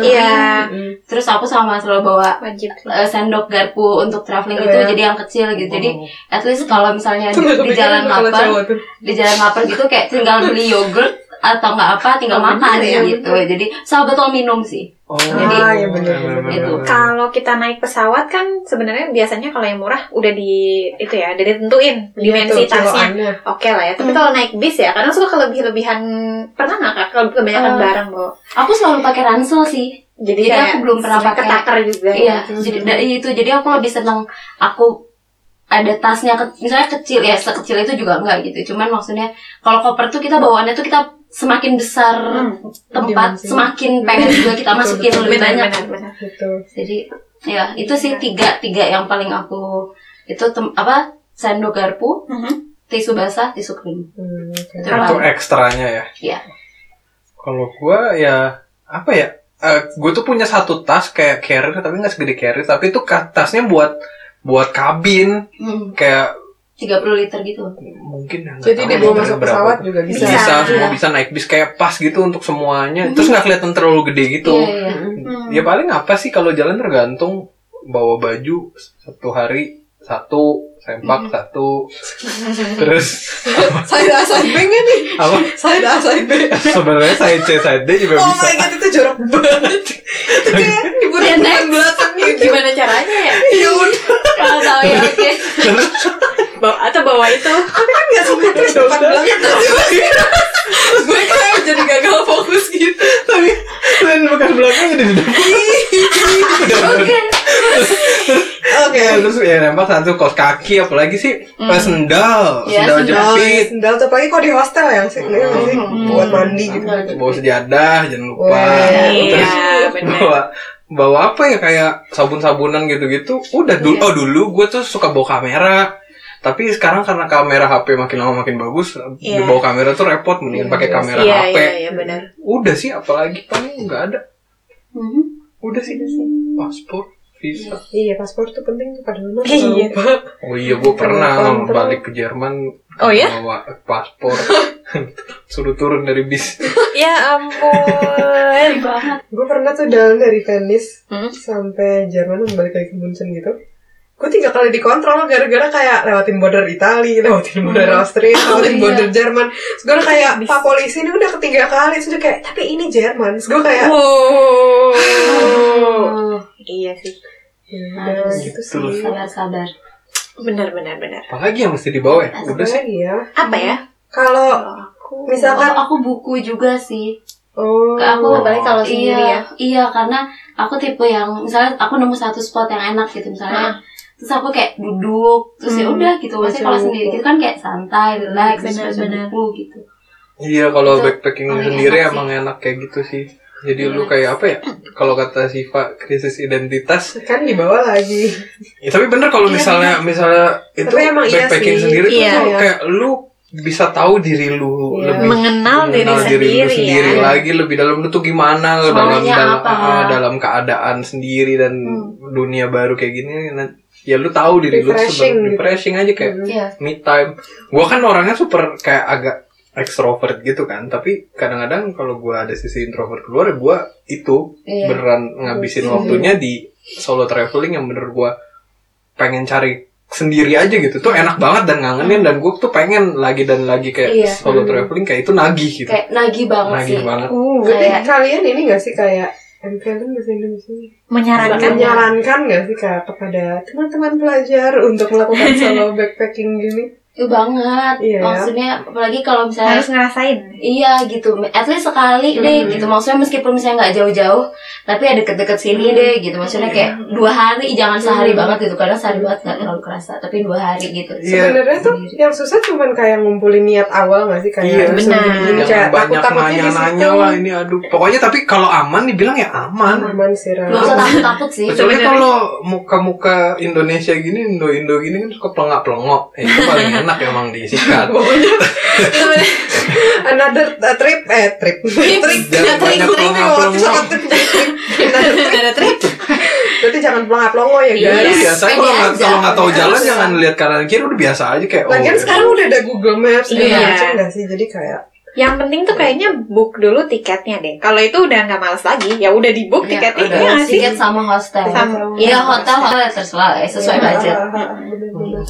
Speaker 1: Mhm.
Speaker 3: kering,
Speaker 2: Iya.
Speaker 1: Mhm.
Speaker 3: terus aku sama selalu bawa
Speaker 2: wajib
Speaker 3: eh, sendok garpu untuk traveling
Speaker 1: Oh,
Speaker 3: itu
Speaker 1: ya.
Speaker 3: jadi yang kecil gitu. Jadi at least kalau misalnya di,
Speaker 1: Tuh, nggak
Speaker 3: di
Speaker 1: kepikiran
Speaker 3: jalan
Speaker 1: kalau
Speaker 3: lapar
Speaker 1: cewek tuh. Iya
Speaker 3: di jalan lapar gitu kayak tinggal beli yogurt atau nggak apa tinggal
Speaker 2: Oh, bener
Speaker 3: makan
Speaker 2: ya,
Speaker 3: gitu jadi sahabat lo minum sih
Speaker 4: Oh,
Speaker 1: iya
Speaker 3: Jadi,
Speaker 1: bener, bener,
Speaker 3: itu.
Speaker 4: bener.
Speaker 2: Kalau kita naik pesawat kan sebenarnya biasanya kalau yang murah udah di itu ya, udah ditentuin dimensi tasnya.
Speaker 1: kiloannya.
Speaker 2: Oke lah ya. Tapi
Speaker 3: Hmm.
Speaker 2: kalau naik bis ya, kadang suka kelebih-lebihan pernah nggak kak? Kalau kebanyakan
Speaker 3: Eh,
Speaker 2: barang bawa.
Speaker 3: aku selalu pakai ransel sih
Speaker 2: Jadi,
Speaker 3: jadi
Speaker 2: kayak
Speaker 3: aku belum pernah
Speaker 2: sering
Speaker 3: pakai.
Speaker 2: Ketakar juga. ya.
Speaker 3: Iya, jadi da- itu jadi aku lebih seneng aku ada tasnya ke- misalnya kecil ya sekecil itu juga enggak gitu. Cuman maksudnya kalau koper tuh kita bawaannya tuh kita semakin besar
Speaker 2: Hmm,
Speaker 3: tempat
Speaker 1: dimensi.
Speaker 3: semakin pengen juga kita
Speaker 1: Betul,
Speaker 3: masukin
Speaker 1: betul.
Speaker 3: lebih
Speaker 2: benar,
Speaker 3: banyak.
Speaker 2: benar, benar.
Speaker 1: Gitu.
Speaker 3: Jadi ya itu sih tiga tiga yang paling aku itu tem- apa sendok garpu,
Speaker 2: Mhm.
Speaker 3: tisu basah, tisu kering.
Speaker 1: Hmm, oke.
Speaker 3: Itu
Speaker 4: Itu
Speaker 3: paling-
Speaker 4: ekstranya ya.
Speaker 3: Iya.
Speaker 4: Kalau gua ya apa ya? Eh gue tuh punya satu tas kayak carrier tapi nggak segede carrier tapi itu ka- tasnya buat buat kabin
Speaker 3: hmm,
Speaker 4: kayak
Speaker 3: 30 liter gitu.
Speaker 4: mungkin ya, nggak
Speaker 1: Jadi
Speaker 4: tahu
Speaker 1: dibawa
Speaker 4: ya,
Speaker 1: masuk
Speaker 4: berapa.
Speaker 1: pesawat juga bisa. Mm-hmm.
Speaker 4: bisa, bisa semua
Speaker 3: Iya.
Speaker 4: bisa naik bis kayak pas gitu untuk semuanya terus nggak kelihatan terlalu gede gitu
Speaker 3: Iya, iya.
Speaker 2: Hmm.
Speaker 4: ya paling apa sih kalau jalan tergantung bawa baju satu hari satu
Speaker 1: Mm-hmm.
Speaker 4: sempak satu terus
Speaker 1: Side A, side B nggak nih?
Speaker 4: apa
Speaker 1: Side A, side B.
Speaker 4: sebenarnya side C side D juga
Speaker 1: Oh my
Speaker 4: bisa
Speaker 1: god, itu jorok banget. Itu kayak hiburan
Speaker 3: Next.
Speaker 1: belakang gitu.
Speaker 3: Gimana caranya ya?
Speaker 1: Ya udah,
Speaker 3: Kalau tahu ya oke.
Speaker 4: terus
Speaker 2: Bawa- atau bawa itu.
Speaker 1: kan nggak simetris depan belakang. Iya, Gue kayak jadi gagal fokus gitu.
Speaker 4: tapi dan bekas belakangnya di depan
Speaker 3: Oke.
Speaker 1: Oke.
Speaker 4: ya terus ya nembak satu kaos kaki apalagi sih Eh, sendal
Speaker 3: Ya,
Speaker 4: sendal
Speaker 3: sendal.
Speaker 4: jepit
Speaker 1: Sendal tuh apalagi kalau di hostel yang sih, ini nggak sih?
Speaker 3: Hmm.
Speaker 1: buat mandi gitu.
Speaker 3: Sendal.
Speaker 4: bawa sejadah jangan lupa
Speaker 1: Wah,
Speaker 4: Terus-
Speaker 2: Iya, benar.
Speaker 4: bawa bawa apa ya kayak sabun-sabunan gitu-gitu udah dulu oh dulu gue tuh suka bawa kamera tapi sekarang karena kamera HP makin lama makin bagus
Speaker 2: Iya.
Speaker 4: bawa kamera tuh repot mendingan
Speaker 1: Iya,
Speaker 4: pakai
Speaker 1: jelas.
Speaker 4: kamera
Speaker 2: Iya,
Speaker 4: HP
Speaker 2: iya, iya, benar.
Speaker 4: udah sih apalagi paling nggak ada
Speaker 3: Mhm.
Speaker 4: udah sih paspor visa
Speaker 1: Iya, paspor tuh penting tuh padahal mah.
Speaker 2: Iya.
Speaker 1: lupa.
Speaker 4: oh iya gue pernah
Speaker 1: Telepon, terus.
Speaker 4: balik ke Jerman
Speaker 2: Oh, iya?
Speaker 4: bawa paspor suruh turun dari bis
Speaker 2: Ya ampun.
Speaker 3: Sedih banget.
Speaker 1: Gue pernah tuh jalan dari Venice
Speaker 2: Hmm.
Speaker 1: sampai Jerman balik lagi ke Munchen gitu. Gue tiga kali dikontrol gara-gara kayak lewatin border Itali, lewatin border Austria, lewatin
Speaker 3: Hmm. iya.
Speaker 1: border Jerman. Terus gue kayak, pak polisi ini udah ketiga kali. Terus dia kayak, tapi ini Jerman. Terus gue kayak,
Speaker 2: Wow.
Speaker 3: Oh,
Speaker 2: Iya sih.
Speaker 1: "Ya,
Speaker 3: Harus.
Speaker 1: gitu sih.
Speaker 4: Terus.
Speaker 3: sabar-sabar.
Speaker 2: Benar benar benar.
Speaker 4: apalagi yang mesti dibawa ya
Speaker 1: Apa
Speaker 4: udah sih
Speaker 1: lagi ya?
Speaker 2: Apa ya?
Speaker 1: Kalau
Speaker 2: Kalau aku
Speaker 1: misalkan,
Speaker 3: Aku- aku buku juga sih.
Speaker 1: oh,
Speaker 3: Aku
Speaker 2: apalagi kalau sendiri ya.
Speaker 3: iya, Iya, karena aku tipe yang misalnya aku nemu satu spot yang enak gitu misalnya. Terus aku kayak duduk, terus ya
Speaker 2: Hmm.
Speaker 3: udah gitu. Maksudnya
Speaker 1: Baca
Speaker 3: kalau
Speaker 1: buku.
Speaker 3: sendiri gitu kan kayak santai, relax, terus baca
Speaker 2: Benar-benar.
Speaker 3: buku gitu.
Speaker 4: Iya kalau
Speaker 3: Itu
Speaker 4: backpacking
Speaker 3: paling
Speaker 4: sendiri
Speaker 3: enak sih.
Speaker 4: emang enak kayak gitu sih. Jadi lu
Speaker 3: Relax.
Speaker 4: kayak apa ya? Kalau kata Siva krisis identitas.
Speaker 1: kan dibawa lagi.
Speaker 4: Ya, tapi bener kalau
Speaker 3: Iya,
Speaker 4: misalnya misalnya itu
Speaker 1: Tapi emang iya
Speaker 4: backpacking
Speaker 1: sih.
Speaker 4: sendiri
Speaker 2: Iya.
Speaker 4: tuh kayak lu bisa tahu diri lu
Speaker 1: Iya.
Speaker 4: lebih
Speaker 2: mengenal diri
Speaker 4: mengenal
Speaker 2: sendiri,
Speaker 4: lu sendiri
Speaker 2: ya.
Speaker 4: lagi lebih dalam lu tuh gimana
Speaker 3: Soalnya
Speaker 4: dalam dalam
Speaker 3: apa?
Speaker 4: ah, dalam keadaan sendiri dan
Speaker 1: Hmm.
Speaker 4: dunia baru kayak gini. nah, Ya lu tahu diri lu tuh
Speaker 1: Refreshing
Speaker 4: seben-
Speaker 1: gitu. Hmm.
Speaker 4: refreshing aja kayak
Speaker 3: Iya.
Speaker 4: me time. Gua kan orangnya super kayak agak ekstrovert gitu kan, tapi kadang-kadang kalau gua ada sisi introvert keluar, ya gua itu
Speaker 3: Iya.
Speaker 4: beneran ngabisin
Speaker 1: Iya.
Speaker 4: waktunya di solo traveling yang bener gua pengen cari sendiri aja gitu tuh enak banget dan ngangenin dan gue tuh pengen lagi dan lagi kayak
Speaker 3: Iya.
Speaker 4: solo traveling kayak itu nagih gitu
Speaker 3: Kayak nagih banget
Speaker 4: nagih
Speaker 3: sih.
Speaker 4: banget
Speaker 1: Uh, tapi
Speaker 3: Kayak-
Speaker 1: kalian ini gak sih kayak, em, kalian bahasa Indonesia
Speaker 3: Kan?
Speaker 2: Menyarankan
Speaker 1: menyarankan nggak sih kak kepada teman-teman pelajar untuk melakukan solo backpacking gini?
Speaker 3: Itu banget.
Speaker 1: Iya.
Speaker 3: Maksudnya apalagi kalau misalnya
Speaker 2: harus ngerasain.
Speaker 3: Iya gitu, at least sekali deh gitu. Maksudnya meskipun misalnya nggak jauh-jauh, tapi ya deket-deket sini deh gitu. Maksudnya kayak dua hari, jangan sehari banget gitu. Karena sehari banget nggak terlalu kerasa, tapi dua hari gitu.
Speaker 4: Iya.
Speaker 1: Sebenarnya tuh
Speaker 3: Sendiri.
Speaker 1: yang susah cuman kayak ngumpulin niat awal nggak sih kayak
Speaker 4: Iya,
Speaker 1: harus
Speaker 2: benar.
Speaker 1: begini-begini, kayak
Speaker 4: jangan
Speaker 1: takut
Speaker 4: banyak
Speaker 1: takutnya di situ. Ah,
Speaker 4: nanya-nanya lah ini aduh pokoknya tapi kalau aman dibilang ya aman
Speaker 1: Aman Iya, sih Ra.
Speaker 3: Gak usah takut-takut sih.
Speaker 4: Kecuali
Speaker 2: Sebenarnya-
Speaker 4: kalau muka-muka Indonesia gini, Indo-Indo gini kan suka pelengak-pelengok. Ya, itu paling enak emang disikat.
Speaker 1: Pokoknya another uh, trip eh trip trik
Speaker 4: Jangan banyak pelongo-pelongo.
Speaker 2: Ada trik.
Speaker 1: Berarti jangan pelongo pelongo ya
Speaker 4: Ya,
Speaker 1: guys.
Speaker 3: Iya.
Speaker 4: biasanya
Speaker 3: pede
Speaker 4: kalau nggak
Speaker 3: aja.
Speaker 4: kalau nggak tahu
Speaker 1: Pede
Speaker 4: jalan
Speaker 1: aja.
Speaker 4: jangan lihat kanan kiri udah biasa aja kayak oh.
Speaker 1: Lagian sekarang udah ada Google Maps gitu
Speaker 2: Iya.
Speaker 1: macam nggak sih jadi kayak
Speaker 2: Yang penting tuh kayaknya book dulu tiketnya deh. Kalau itu udah nggak males lagi, ya udah di book
Speaker 3: Iya,
Speaker 2: tiketnya
Speaker 3: udah.
Speaker 2: ya nggak sih.
Speaker 3: Tiket sama hostel.
Speaker 2: Sama.
Speaker 3: Iya hotel hotel terserah ya, sesuai budget.
Speaker 1: Ah, ah, ah, bener-bener.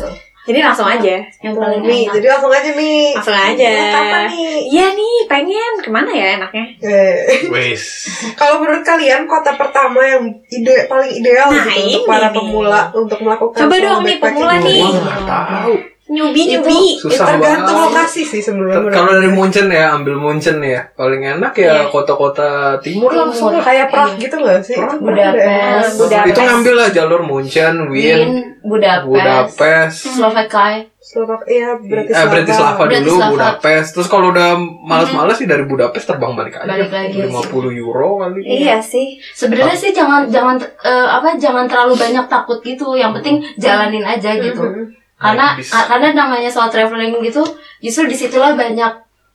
Speaker 2: Jadi langsung aja.
Speaker 3: yang paling
Speaker 1: Mi,
Speaker 3: enak
Speaker 1: jadi langsung aja Mi.
Speaker 2: Langsung aja.
Speaker 1: Kapan nih?
Speaker 2: Iya nih, pengen kemana ya enaknya?
Speaker 1: Eh,
Speaker 4: Wes.
Speaker 1: kalau menurut kalian kota pertama yang ide paling
Speaker 2: Nah,
Speaker 1: ideal gitu untuk
Speaker 2: ini
Speaker 1: para
Speaker 2: nih.
Speaker 1: pemula untuk melakukan
Speaker 2: Coba
Speaker 1: solo
Speaker 2: dong nih,
Speaker 1: backpacking?
Speaker 2: pemula nih.
Speaker 4: Gua nggak tahu.
Speaker 2: Nyubi
Speaker 1: Itu-
Speaker 2: nyubi.
Speaker 1: Ya,
Speaker 4: Susah
Speaker 1: tergantung
Speaker 4: banget.
Speaker 1: lokasi sih sebenarnya.
Speaker 4: Ter-
Speaker 1: menurut
Speaker 4: Kalau dari
Speaker 1: gue.
Speaker 4: Munchen ya, ambil Munchen ya. Paling enak ya
Speaker 2: Iya.
Speaker 4: kota-kota timur lah.
Speaker 1: langsung kayak Prag gitu nggak sih?
Speaker 4: Prag,
Speaker 1: Prag ada yang-
Speaker 3: Budapest.
Speaker 2: Budapest.
Speaker 4: Itu ngambil lah jalur Munchen,
Speaker 3: Wien
Speaker 4: Wien,
Speaker 3: Budapest, Hmm.
Speaker 4: Budapest.
Speaker 3: Slovakia
Speaker 1: Slovak, iya
Speaker 4: Bratislava.
Speaker 1: Bratislava.
Speaker 4: Eh,
Speaker 1: Mm-hmm.
Speaker 4: Bratislava dulu,
Speaker 3: Bratislava.
Speaker 4: Budapest. Terus kalau udah males-males sih dari Budapest terbang balik aja.
Speaker 3: Balik lagi.
Speaker 4: 50 euro kali.
Speaker 2: Iya sih.
Speaker 3: sebenarnya sih jangan jangan eh, apa jangan terlalu banyak takut gitu yang penting jalanin aja gitu
Speaker 2: Mm-hmm.
Speaker 3: karena
Speaker 4: Habis.
Speaker 3: ka- karena namanya soal traveling gitu justru disitulah banyak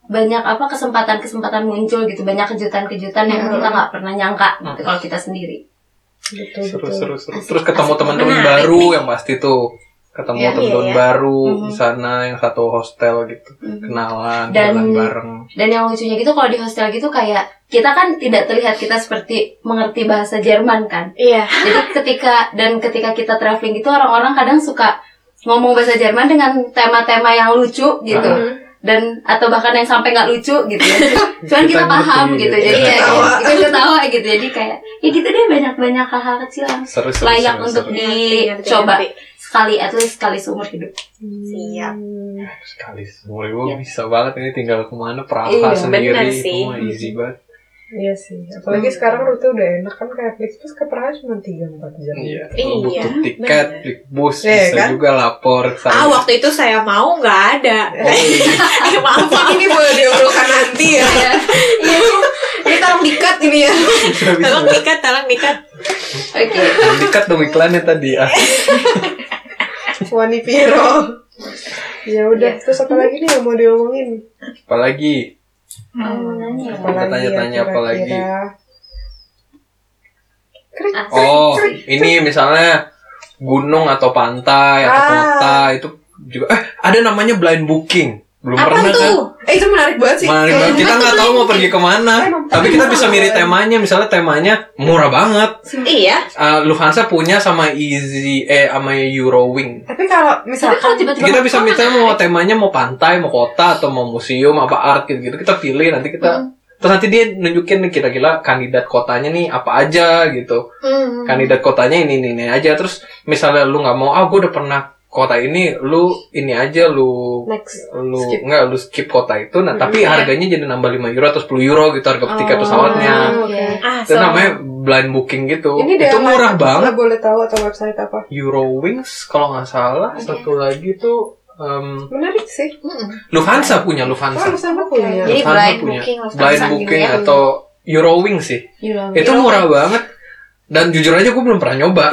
Speaker 3: banyak apa kesempatan kesempatan muncul gitu banyak kejutan kejutan yang kita nggak pernah nyangka gitu, kalau kita sendiri
Speaker 1: Gitu,
Speaker 4: Seru,
Speaker 1: gitu.
Speaker 4: seru, seru. Terus ketemu teman-teman
Speaker 2: Menarik
Speaker 4: baru yang pasti tuh ketemu
Speaker 3: Iya,
Speaker 4: teman-teman
Speaker 2: iya.
Speaker 4: baru di sana yang satu hostel gitu kenalan
Speaker 3: Dan-
Speaker 4: jalan bareng
Speaker 3: dan yang lucunya gitu kalau di hostel gitu kayak kita kan tidak terlihat kita seperti mengerti bahasa Jerman kan
Speaker 2: Iya.
Speaker 3: Jadi ketika dan ketika kita traveling gitu orang-orang kadang suka ngomong bahasa Jerman dengan tema-tema yang lucu gitu.
Speaker 1: Mhm.
Speaker 3: Dan atau bahkan yang sampai nggak lucu gitu. Cuman kita,
Speaker 4: Kita
Speaker 3: paham
Speaker 4: ngerti,
Speaker 3: gitu.
Speaker 4: gitu.
Speaker 3: Jadi ya,
Speaker 1: Ketawa.
Speaker 3: kita ketawa gitu. Jadi kayak ya gitu deh banyak-banyak hal-hal kecil yang
Speaker 4: seru seru
Speaker 3: layak
Speaker 4: seru,
Speaker 3: untuk
Speaker 4: seru.
Speaker 3: dicoba sekali atau sekali seumur hidup.
Speaker 2: Siap.
Speaker 4: sekali semua gue bisa banget ini tinggal kemana Praha
Speaker 3: Iya,
Speaker 4: sendiri
Speaker 2: bener sih.
Speaker 4: semua easy banget
Speaker 1: Iya sih. Apalagi sekarang rute udah enak kan kayak Flixbus ke Praha cuma 3-4 jam.
Speaker 4: iya
Speaker 2: Iya,
Speaker 4: lu butuh tiket
Speaker 2: bener.
Speaker 4: klik bus
Speaker 1: Iya,
Speaker 4: bisa
Speaker 1: kan?
Speaker 4: juga lapor ke sana.
Speaker 2: Ah, waktu itu saya mau nggak ada.
Speaker 4: Oh, iya.
Speaker 2: Eh, maaf, maaf. Iya.
Speaker 1: Ini boleh diobrolkan nanti ya. ini tolong dikat ini ya.
Speaker 4: bisa bisa
Speaker 2: Tolong dikat, tolong dikat.
Speaker 3: Oke.
Speaker 4: dekat dong iklannya tadi ah
Speaker 1: Wani Piro. Ya
Speaker 2: Iya.
Speaker 1: udah, terus apa lagi nih yang mau diomongin?
Speaker 4: apalagi
Speaker 3: Oh,
Speaker 1: Hmm.
Speaker 4: Mau tanya-tanya apa lagi?
Speaker 1: Iya, kira-kira? Krik,
Speaker 3: Ah.
Speaker 1: krik,
Speaker 4: oh
Speaker 1: krik.
Speaker 4: ini misalnya gunung atau pantai atau
Speaker 1: Ah.
Speaker 4: kota itu juga eh ada namanya blind booking belum
Speaker 2: Apa
Speaker 4: pernah kan
Speaker 2: tuh?
Speaker 1: Eh itu menarik banget sih.
Speaker 4: Menarik banget. Kita nggak tahu mau pergi kemana,
Speaker 1: Emang
Speaker 4: tapi kita bisa milih
Speaker 1: beneran.
Speaker 4: temanya. Misalnya temanya murah banget.
Speaker 2: Iya.
Speaker 4: Eh, Lufthansa punya sama Easy, eh sama Eurowing.
Speaker 1: Tapi kalau
Speaker 3: Tapi
Speaker 1: misalkan
Speaker 3: kalau tiba-tiba
Speaker 4: Kita bisa minta mau temanya mau pantai, mau kota, atau mau museum, apa art gitu. gitu. Kita pilih nanti kita. Terus nanti dia nunjukin nih kira-kira kandidat kotanya nih apa aja gitu.
Speaker 2: Hmm.
Speaker 4: Kandidat kotanya ini ini, ini aja. Terus misalnya lu nggak mau, ah gue udah pernah kota ini, lu ini aja lu
Speaker 1: next
Speaker 4: lu
Speaker 1: Skip.
Speaker 4: nggak lu skip kota itu nah tapi
Speaker 2: Iya.
Speaker 4: harganya jadi nambah 5 euro atau 10 euro gitu Ya. harga tiket
Speaker 1: Oh.
Speaker 4: pesawatnya
Speaker 3: iya.
Speaker 1: Oke.
Speaker 2: Ah,
Speaker 4: itu namanya blind booking gitu itu
Speaker 1: daerah
Speaker 4: murah
Speaker 1: apa?
Speaker 4: banget
Speaker 1: Lo boleh tahu atau website apa?
Speaker 4: Eurowings kalau nggak salah satu lagi tuh em,
Speaker 1: Menarik sih.
Speaker 2: Hmm,
Speaker 4: Lufthansa punya
Speaker 1: Oh,
Speaker 4: Lufthansa
Speaker 1: harus sama punya.
Speaker 2: Jadi
Speaker 4: Lufthansa
Speaker 2: blind
Speaker 4: punya.
Speaker 2: booking, Lufthansa
Speaker 4: blind booking
Speaker 2: gitu ya.
Speaker 4: atau Eurowings sih itu
Speaker 2: Eurowings.
Speaker 4: murah banget dan jujur aja gue belum pernah nyoba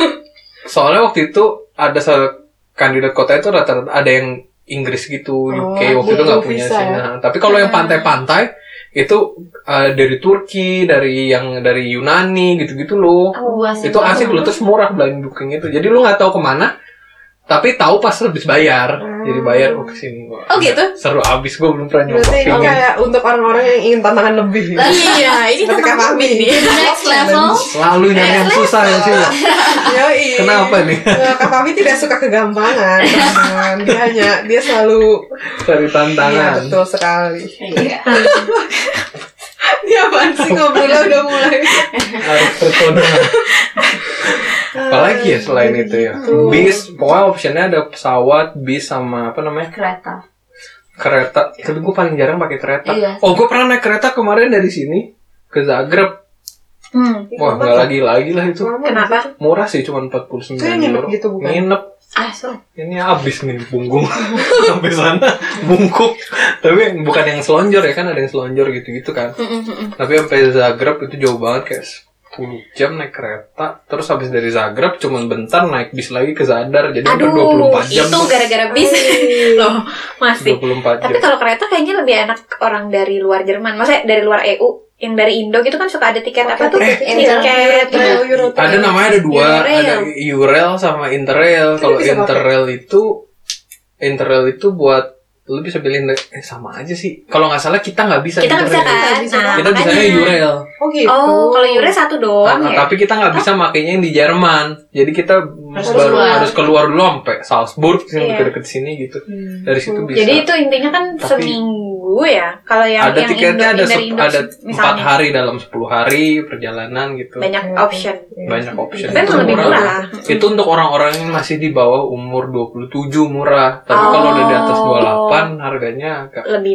Speaker 4: soalnya waktu itu ada se- kandidat kota itu rata-rata ada yang Inggris gitu
Speaker 1: Oh,
Speaker 4: UK waktu itu
Speaker 1: butuh
Speaker 4: nggak punya
Speaker 1: visa
Speaker 4: sih
Speaker 1: ya?
Speaker 4: Nah, tapi kalau yang pantai-pantai itu eh, dari Turki dari yang dari Yunani gitu-gitu loh itu asik lu terus murah blind booking itu jadi lu nggak tahu kemana tapi tahu pas habis bayar
Speaker 1: Hmm.
Speaker 4: jadi bayar oh kesini Wah,
Speaker 2: Oh, gitu?
Speaker 4: seru abis gue belum pernah nyoba
Speaker 1: Berarti ini
Speaker 4: pengen
Speaker 1: kayak untuk orang-orang yang ingin tantangan lebih.
Speaker 2: Iya, ini
Speaker 1: Seperti
Speaker 2: tentang
Speaker 1: kami.
Speaker 2: kami nih.
Speaker 3: next level
Speaker 4: selalu nyari yang susah ya sih
Speaker 1: Iya.
Speaker 4: Wak.
Speaker 1: Yoi.
Speaker 4: kenapa nih
Speaker 1: Nah, Kak Fahmi tidak suka kegampangan, teman-teman. Dia hanya, dia selalu
Speaker 4: cari
Speaker 1: Iya,
Speaker 4: tantangan
Speaker 1: betul sekali.
Speaker 3: Iya.
Speaker 1: Dia apaan sih ngobrolnya udah mulai.
Speaker 4: harus tertunda apalagi ya selain itu ya
Speaker 1: Gitu.
Speaker 4: bis pokoknya optionnya ada pesawat bis sama apa namanya
Speaker 3: kereta
Speaker 4: kereta tapi gue paling jarang pakai kereta
Speaker 3: Iya.
Speaker 4: oh gue pernah naik kereta kemarin dari sini ke Zagreb
Speaker 1: Iya,
Speaker 4: wah nggak lagi lagi lah itu
Speaker 2: Hmm. Kenapa?
Speaker 4: murah sih cuma 49
Speaker 1: Itu yang nginep
Speaker 4: euro
Speaker 1: gitu, bukan?
Speaker 4: nginep
Speaker 2: Ah, so.
Speaker 4: ini abis nih punggung sampai sana bungkuk tapi bukan yang selonjor ya kan ada yang selonjor gitu gitu kan tapi sampai Zagreb itu jauh banget kayak 10 jam naik kereta terus habis dari Zagreb cuman bentar naik bis lagi ke Zadar jadi
Speaker 2: Aduh,
Speaker 4: udah 24 jam
Speaker 2: itu
Speaker 4: tuh.
Speaker 2: gara-gara bis. Loh, masih.
Speaker 4: 24
Speaker 2: Tapi kan
Speaker 4: jam
Speaker 2: kalau kereta kayaknya lebih enak orang dari luar Jerman. Maksudnya dari luar EU. Yang dari Indo gitu kan suka ada tiket apa tuh?
Speaker 4: Eh,
Speaker 2: Tiket.
Speaker 1: Euro, Euro,
Speaker 4: ada
Speaker 1: Euro.
Speaker 4: namanya ada dua
Speaker 2: Eurail.
Speaker 4: ada Eurail sama Interrail kalau
Speaker 1: bisa pakai.
Speaker 4: Interrail itu Interrail itu buat lu bisa pilih eh sama aja sih kalau nggak salah kita nggak bisa
Speaker 2: Kita nggak
Speaker 4: di
Speaker 2: bisa
Speaker 4: Korea.
Speaker 2: kan?
Speaker 1: bisa.
Speaker 2: Nah,
Speaker 4: kita bisa
Speaker 2: makanya.
Speaker 4: Yurel
Speaker 1: Oh gitu.
Speaker 2: Oh, kalau Yure satu doang
Speaker 4: Nah,
Speaker 2: ya?
Speaker 4: tapi kita nggak bisa makainya yang di Jerman jadi kita
Speaker 3: Harus
Speaker 4: baru
Speaker 3: keluar.
Speaker 4: harus keluar dulu sampai Salzburg yang
Speaker 2: Iya.
Speaker 4: deket-deket sini gitu
Speaker 1: Hmm,
Speaker 4: dari situ bisa
Speaker 2: Jadi itu intinya kan
Speaker 4: Tapi-
Speaker 2: seminggu ya. Kalau yang
Speaker 4: ada
Speaker 2: yang
Speaker 4: tiketnya ada
Speaker 2: Indo-
Speaker 4: sep-
Speaker 2: Indo-
Speaker 4: ada
Speaker 2: Indo-
Speaker 4: empat
Speaker 2: misalnya
Speaker 4: hari dalam 10 hari perjalanan gitu banyak,
Speaker 2: banyak
Speaker 1: Iya.
Speaker 2: option.
Speaker 1: Iya.
Speaker 4: option
Speaker 2: Tapi
Speaker 4: Itu
Speaker 2: emang lebih
Speaker 4: murah.
Speaker 2: murah.
Speaker 4: itu untuk orang-orang yang masih di bawah umur 27 murah tapi kalau udah di atas
Speaker 3: Oh.
Speaker 4: 28 harganya agak
Speaker 2: Lebih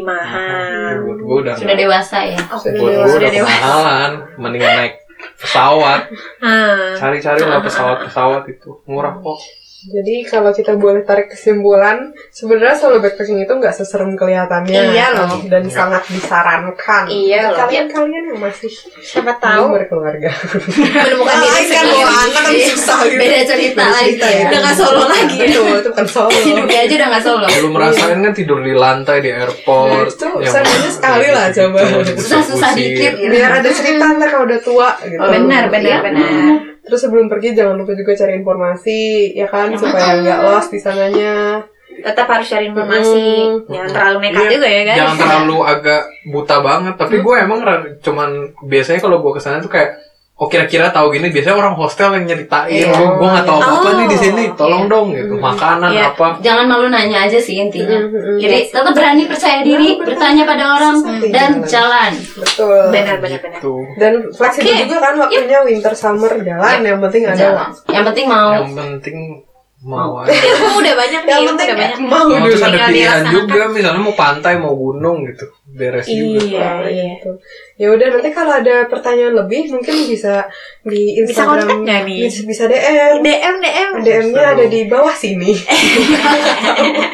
Speaker 2: mahal.
Speaker 4: mahal. buat gue udah
Speaker 3: Sudah dewasa ya.
Speaker 2: Oh,
Speaker 1: Sudah
Speaker 4: buat
Speaker 1: dewasa.
Speaker 4: gue udah
Speaker 2: Sudah dewasa.
Speaker 4: kemahalan mendingan naik pesawat
Speaker 2: Hmm.
Speaker 4: cari-cari lah pesawat-pesawat itu murah kok
Speaker 1: Jadi kalau kita boleh tarik kesimpulan, sebenarnya solo backpacking itu nggak seserem kelihatannya.
Speaker 2: Iya loh.
Speaker 1: Dan sangat disarankan.
Speaker 2: Iya
Speaker 1: Untuk
Speaker 2: loh.
Speaker 1: Kalian-kalian yang masih
Speaker 2: Siapa
Speaker 1: belum
Speaker 2: tahu
Speaker 1: berkeluarga.
Speaker 2: menemukan diri
Speaker 1: Kan
Speaker 2: sendiri.
Speaker 1: bawa anak kan susah gitu.
Speaker 3: Iya. Beda cerita
Speaker 1: Beda
Speaker 3: lagi
Speaker 1: cerita
Speaker 3: ya.
Speaker 1: ya.
Speaker 2: Udah nggak solo lagi. Iya.
Speaker 1: Betul, itu bukan solo.
Speaker 3: Hidupnya aja udah gak solo.
Speaker 4: belum merasain kan tidur di lantai di airport
Speaker 1: Itu seenggaknya sekali lah, coba.
Speaker 3: Susah-susah dikit gitu.
Speaker 1: Biar ada cerita ntar kalau udah tua gitu.
Speaker 2: Benar, benar, benar.
Speaker 1: Terus sebelum pergi jangan lupa juga cari informasi, ya kan,
Speaker 2: Iya.
Speaker 1: supaya nggak lost di sananya.
Speaker 2: Tetap harus cari informasi.
Speaker 1: Hmm.
Speaker 2: Jangan terlalu nekat
Speaker 4: Iya,
Speaker 2: juga ya, guys.
Speaker 4: jangan terlalu agak buta banget tapi gue emang ra- cuman biasanya kalau gue kesana tuh kayak oh kira-kira tahu gini biasanya orang hostel yang
Speaker 3: Iya.
Speaker 4: nyeritain oh gue nggak tahu apa apa
Speaker 2: Oh.
Speaker 4: nih di sini tolong dong gitu makanan
Speaker 2: Iya.
Speaker 4: apa
Speaker 3: Jangan malu nanya aja sih intinya.
Speaker 1: Mm-hmm.
Speaker 3: Jadi tetap berani percaya diri, bertanya pada orang
Speaker 1: Berani
Speaker 3: dan
Speaker 1: bertanya.
Speaker 3: jalan.
Speaker 1: Betul.
Speaker 2: Benar, benar, benar.
Speaker 4: tuh
Speaker 1: Dan
Speaker 2: Oke.
Speaker 1: fleksibel
Speaker 2: Iya.
Speaker 1: juga kan waktunya winter summer jalan yang penting ada
Speaker 3: Jalan. Yang penting mau
Speaker 4: yang penting mau aja
Speaker 2: Ilmu udah banyak nih, ilmu Iya, udah banyak.
Speaker 1: mau
Speaker 4: Mau terus
Speaker 1: dulu.
Speaker 4: ada
Speaker 2: Tinggal
Speaker 4: pilihan
Speaker 2: dilaksanakan.
Speaker 4: juga misalnya mau pantai mau gunung gitu beres juga
Speaker 2: Iya,
Speaker 1: Nah,
Speaker 2: iya.
Speaker 1: gitu. Ya udah nanti kalau ada pertanyaan lebih mungkin bisa di
Speaker 2: Bisa kontak
Speaker 1: Instagram
Speaker 2: nggak nih?
Speaker 1: bisa, bisa DM.
Speaker 2: DM, DM.
Speaker 1: DM-nya ada di bawah sini.
Speaker 2: Eh.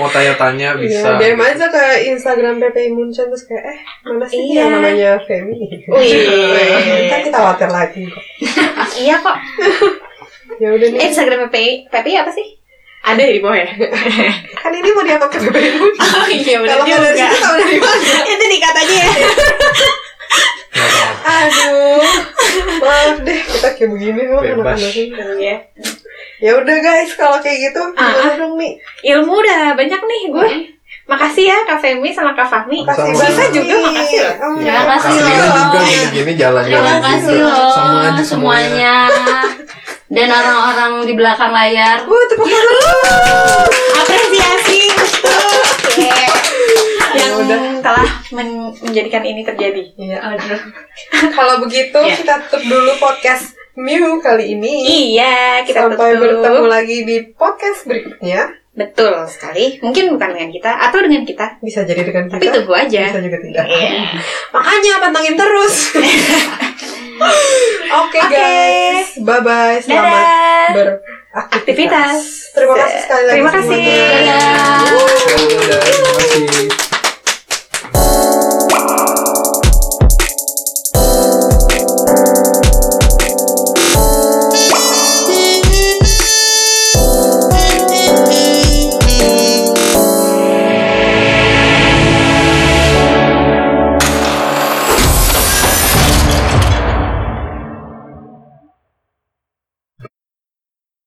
Speaker 4: mau tanya-tanya bisa
Speaker 1: Iya, DM aja ke Instagram PPI Munchen terus kayak eh mana sih
Speaker 2: Iya. Oh,
Speaker 1: yang namanya Femi?
Speaker 2: Wih.
Speaker 1: Ntar Kan kita water lagi kok.
Speaker 2: Iya kok.
Speaker 1: Ya udah
Speaker 2: Eh,
Speaker 1: nih.
Speaker 2: Instagram PPI, PPI apa sih? Ada ya di bawah ya?
Speaker 1: Kan ini mau diapa ke PPI Munchen?
Speaker 2: Oh iya
Speaker 1: Kalau nggak dari situ tahu dari mana?
Speaker 2: Itu dikat aja ya.
Speaker 4: Nggak apa-apa.
Speaker 1: Aduh, maaf deh kita kayak begini loh
Speaker 4: Bebas.
Speaker 1: anak-anaknya.
Speaker 2: iya.
Speaker 1: Ya udah guys, kalau kayak gitu
Speaker 2: Ah,
Speaker 1: gimana dong nih?
Speaker 2: Ilmu udah banyak nih gue. Makasih ya Kak Femi sama Kak Fahmi.
Speaker 4: Sama-sama.
Speaker 1: Kasih
Speaker 4: Bisa
Speaker 1: banget
Speaker 2: juga,
Speaker 1: nih.
Speaker 2: makasih ya. loh.
Speaker 1: Oh,
Speaker 3: Terima
Speaker 1: iya.
Speaker 3: kasih
Speaker 4: Kasih
Speaker 3: loh.
Speaker 4: juga gini-gini jalan-jalan
Speaker 3: Terima kasih
Speaker 4: juga.
Speaker 3: loh
Speaker 4: Sama aja semuanya.
Speaker 3: semuanya. Dan orang-orang di belakang layar.
Speaker 1: Wuh, tepuk tangan.
Speaker 2: Apresiasi Iya. yang
Speaker 1: udah.
Speaker 2: telah men- menjadikan ini terjadi.
Speaker 1: Iya. Kalau begitu
Speaker 2: Iya.
Speaker 1: kita tutup dulu podcast Mew kali ini.
Speaker 2: Iya, kita
Speaker 1: Sampai
Speaker 2: tutup.
Speaker 1: bertemu lagi di podcast berikutnya.
Speaker 2: Betul sekali. Mungkin bukan dengan kita atau dengan kita,
Speaker 1: Bisa jadi dengan
Speaker 2: tapi
Speaker 1: kita,
Speaker 2: tunggu aja.
Speaker 1: bisa juga tidak.
Speaker 2: Iya.
Speaker 1: Makanya pantengin terus. Oke
Speaker 2: Oke.
Speaker 1: guys, bye bye. Selamat
Speaker 2: Dadah.
Speaker 1: beraktivitas.
Speaker 2: Aktivitas.
Speaker 1: Terima kasih sekali lagi.
Speaker 2: Terima kasih.
Speaker 1: semuanya.
Speaker 3: Dadah.
Speaker 4: Terima kasih.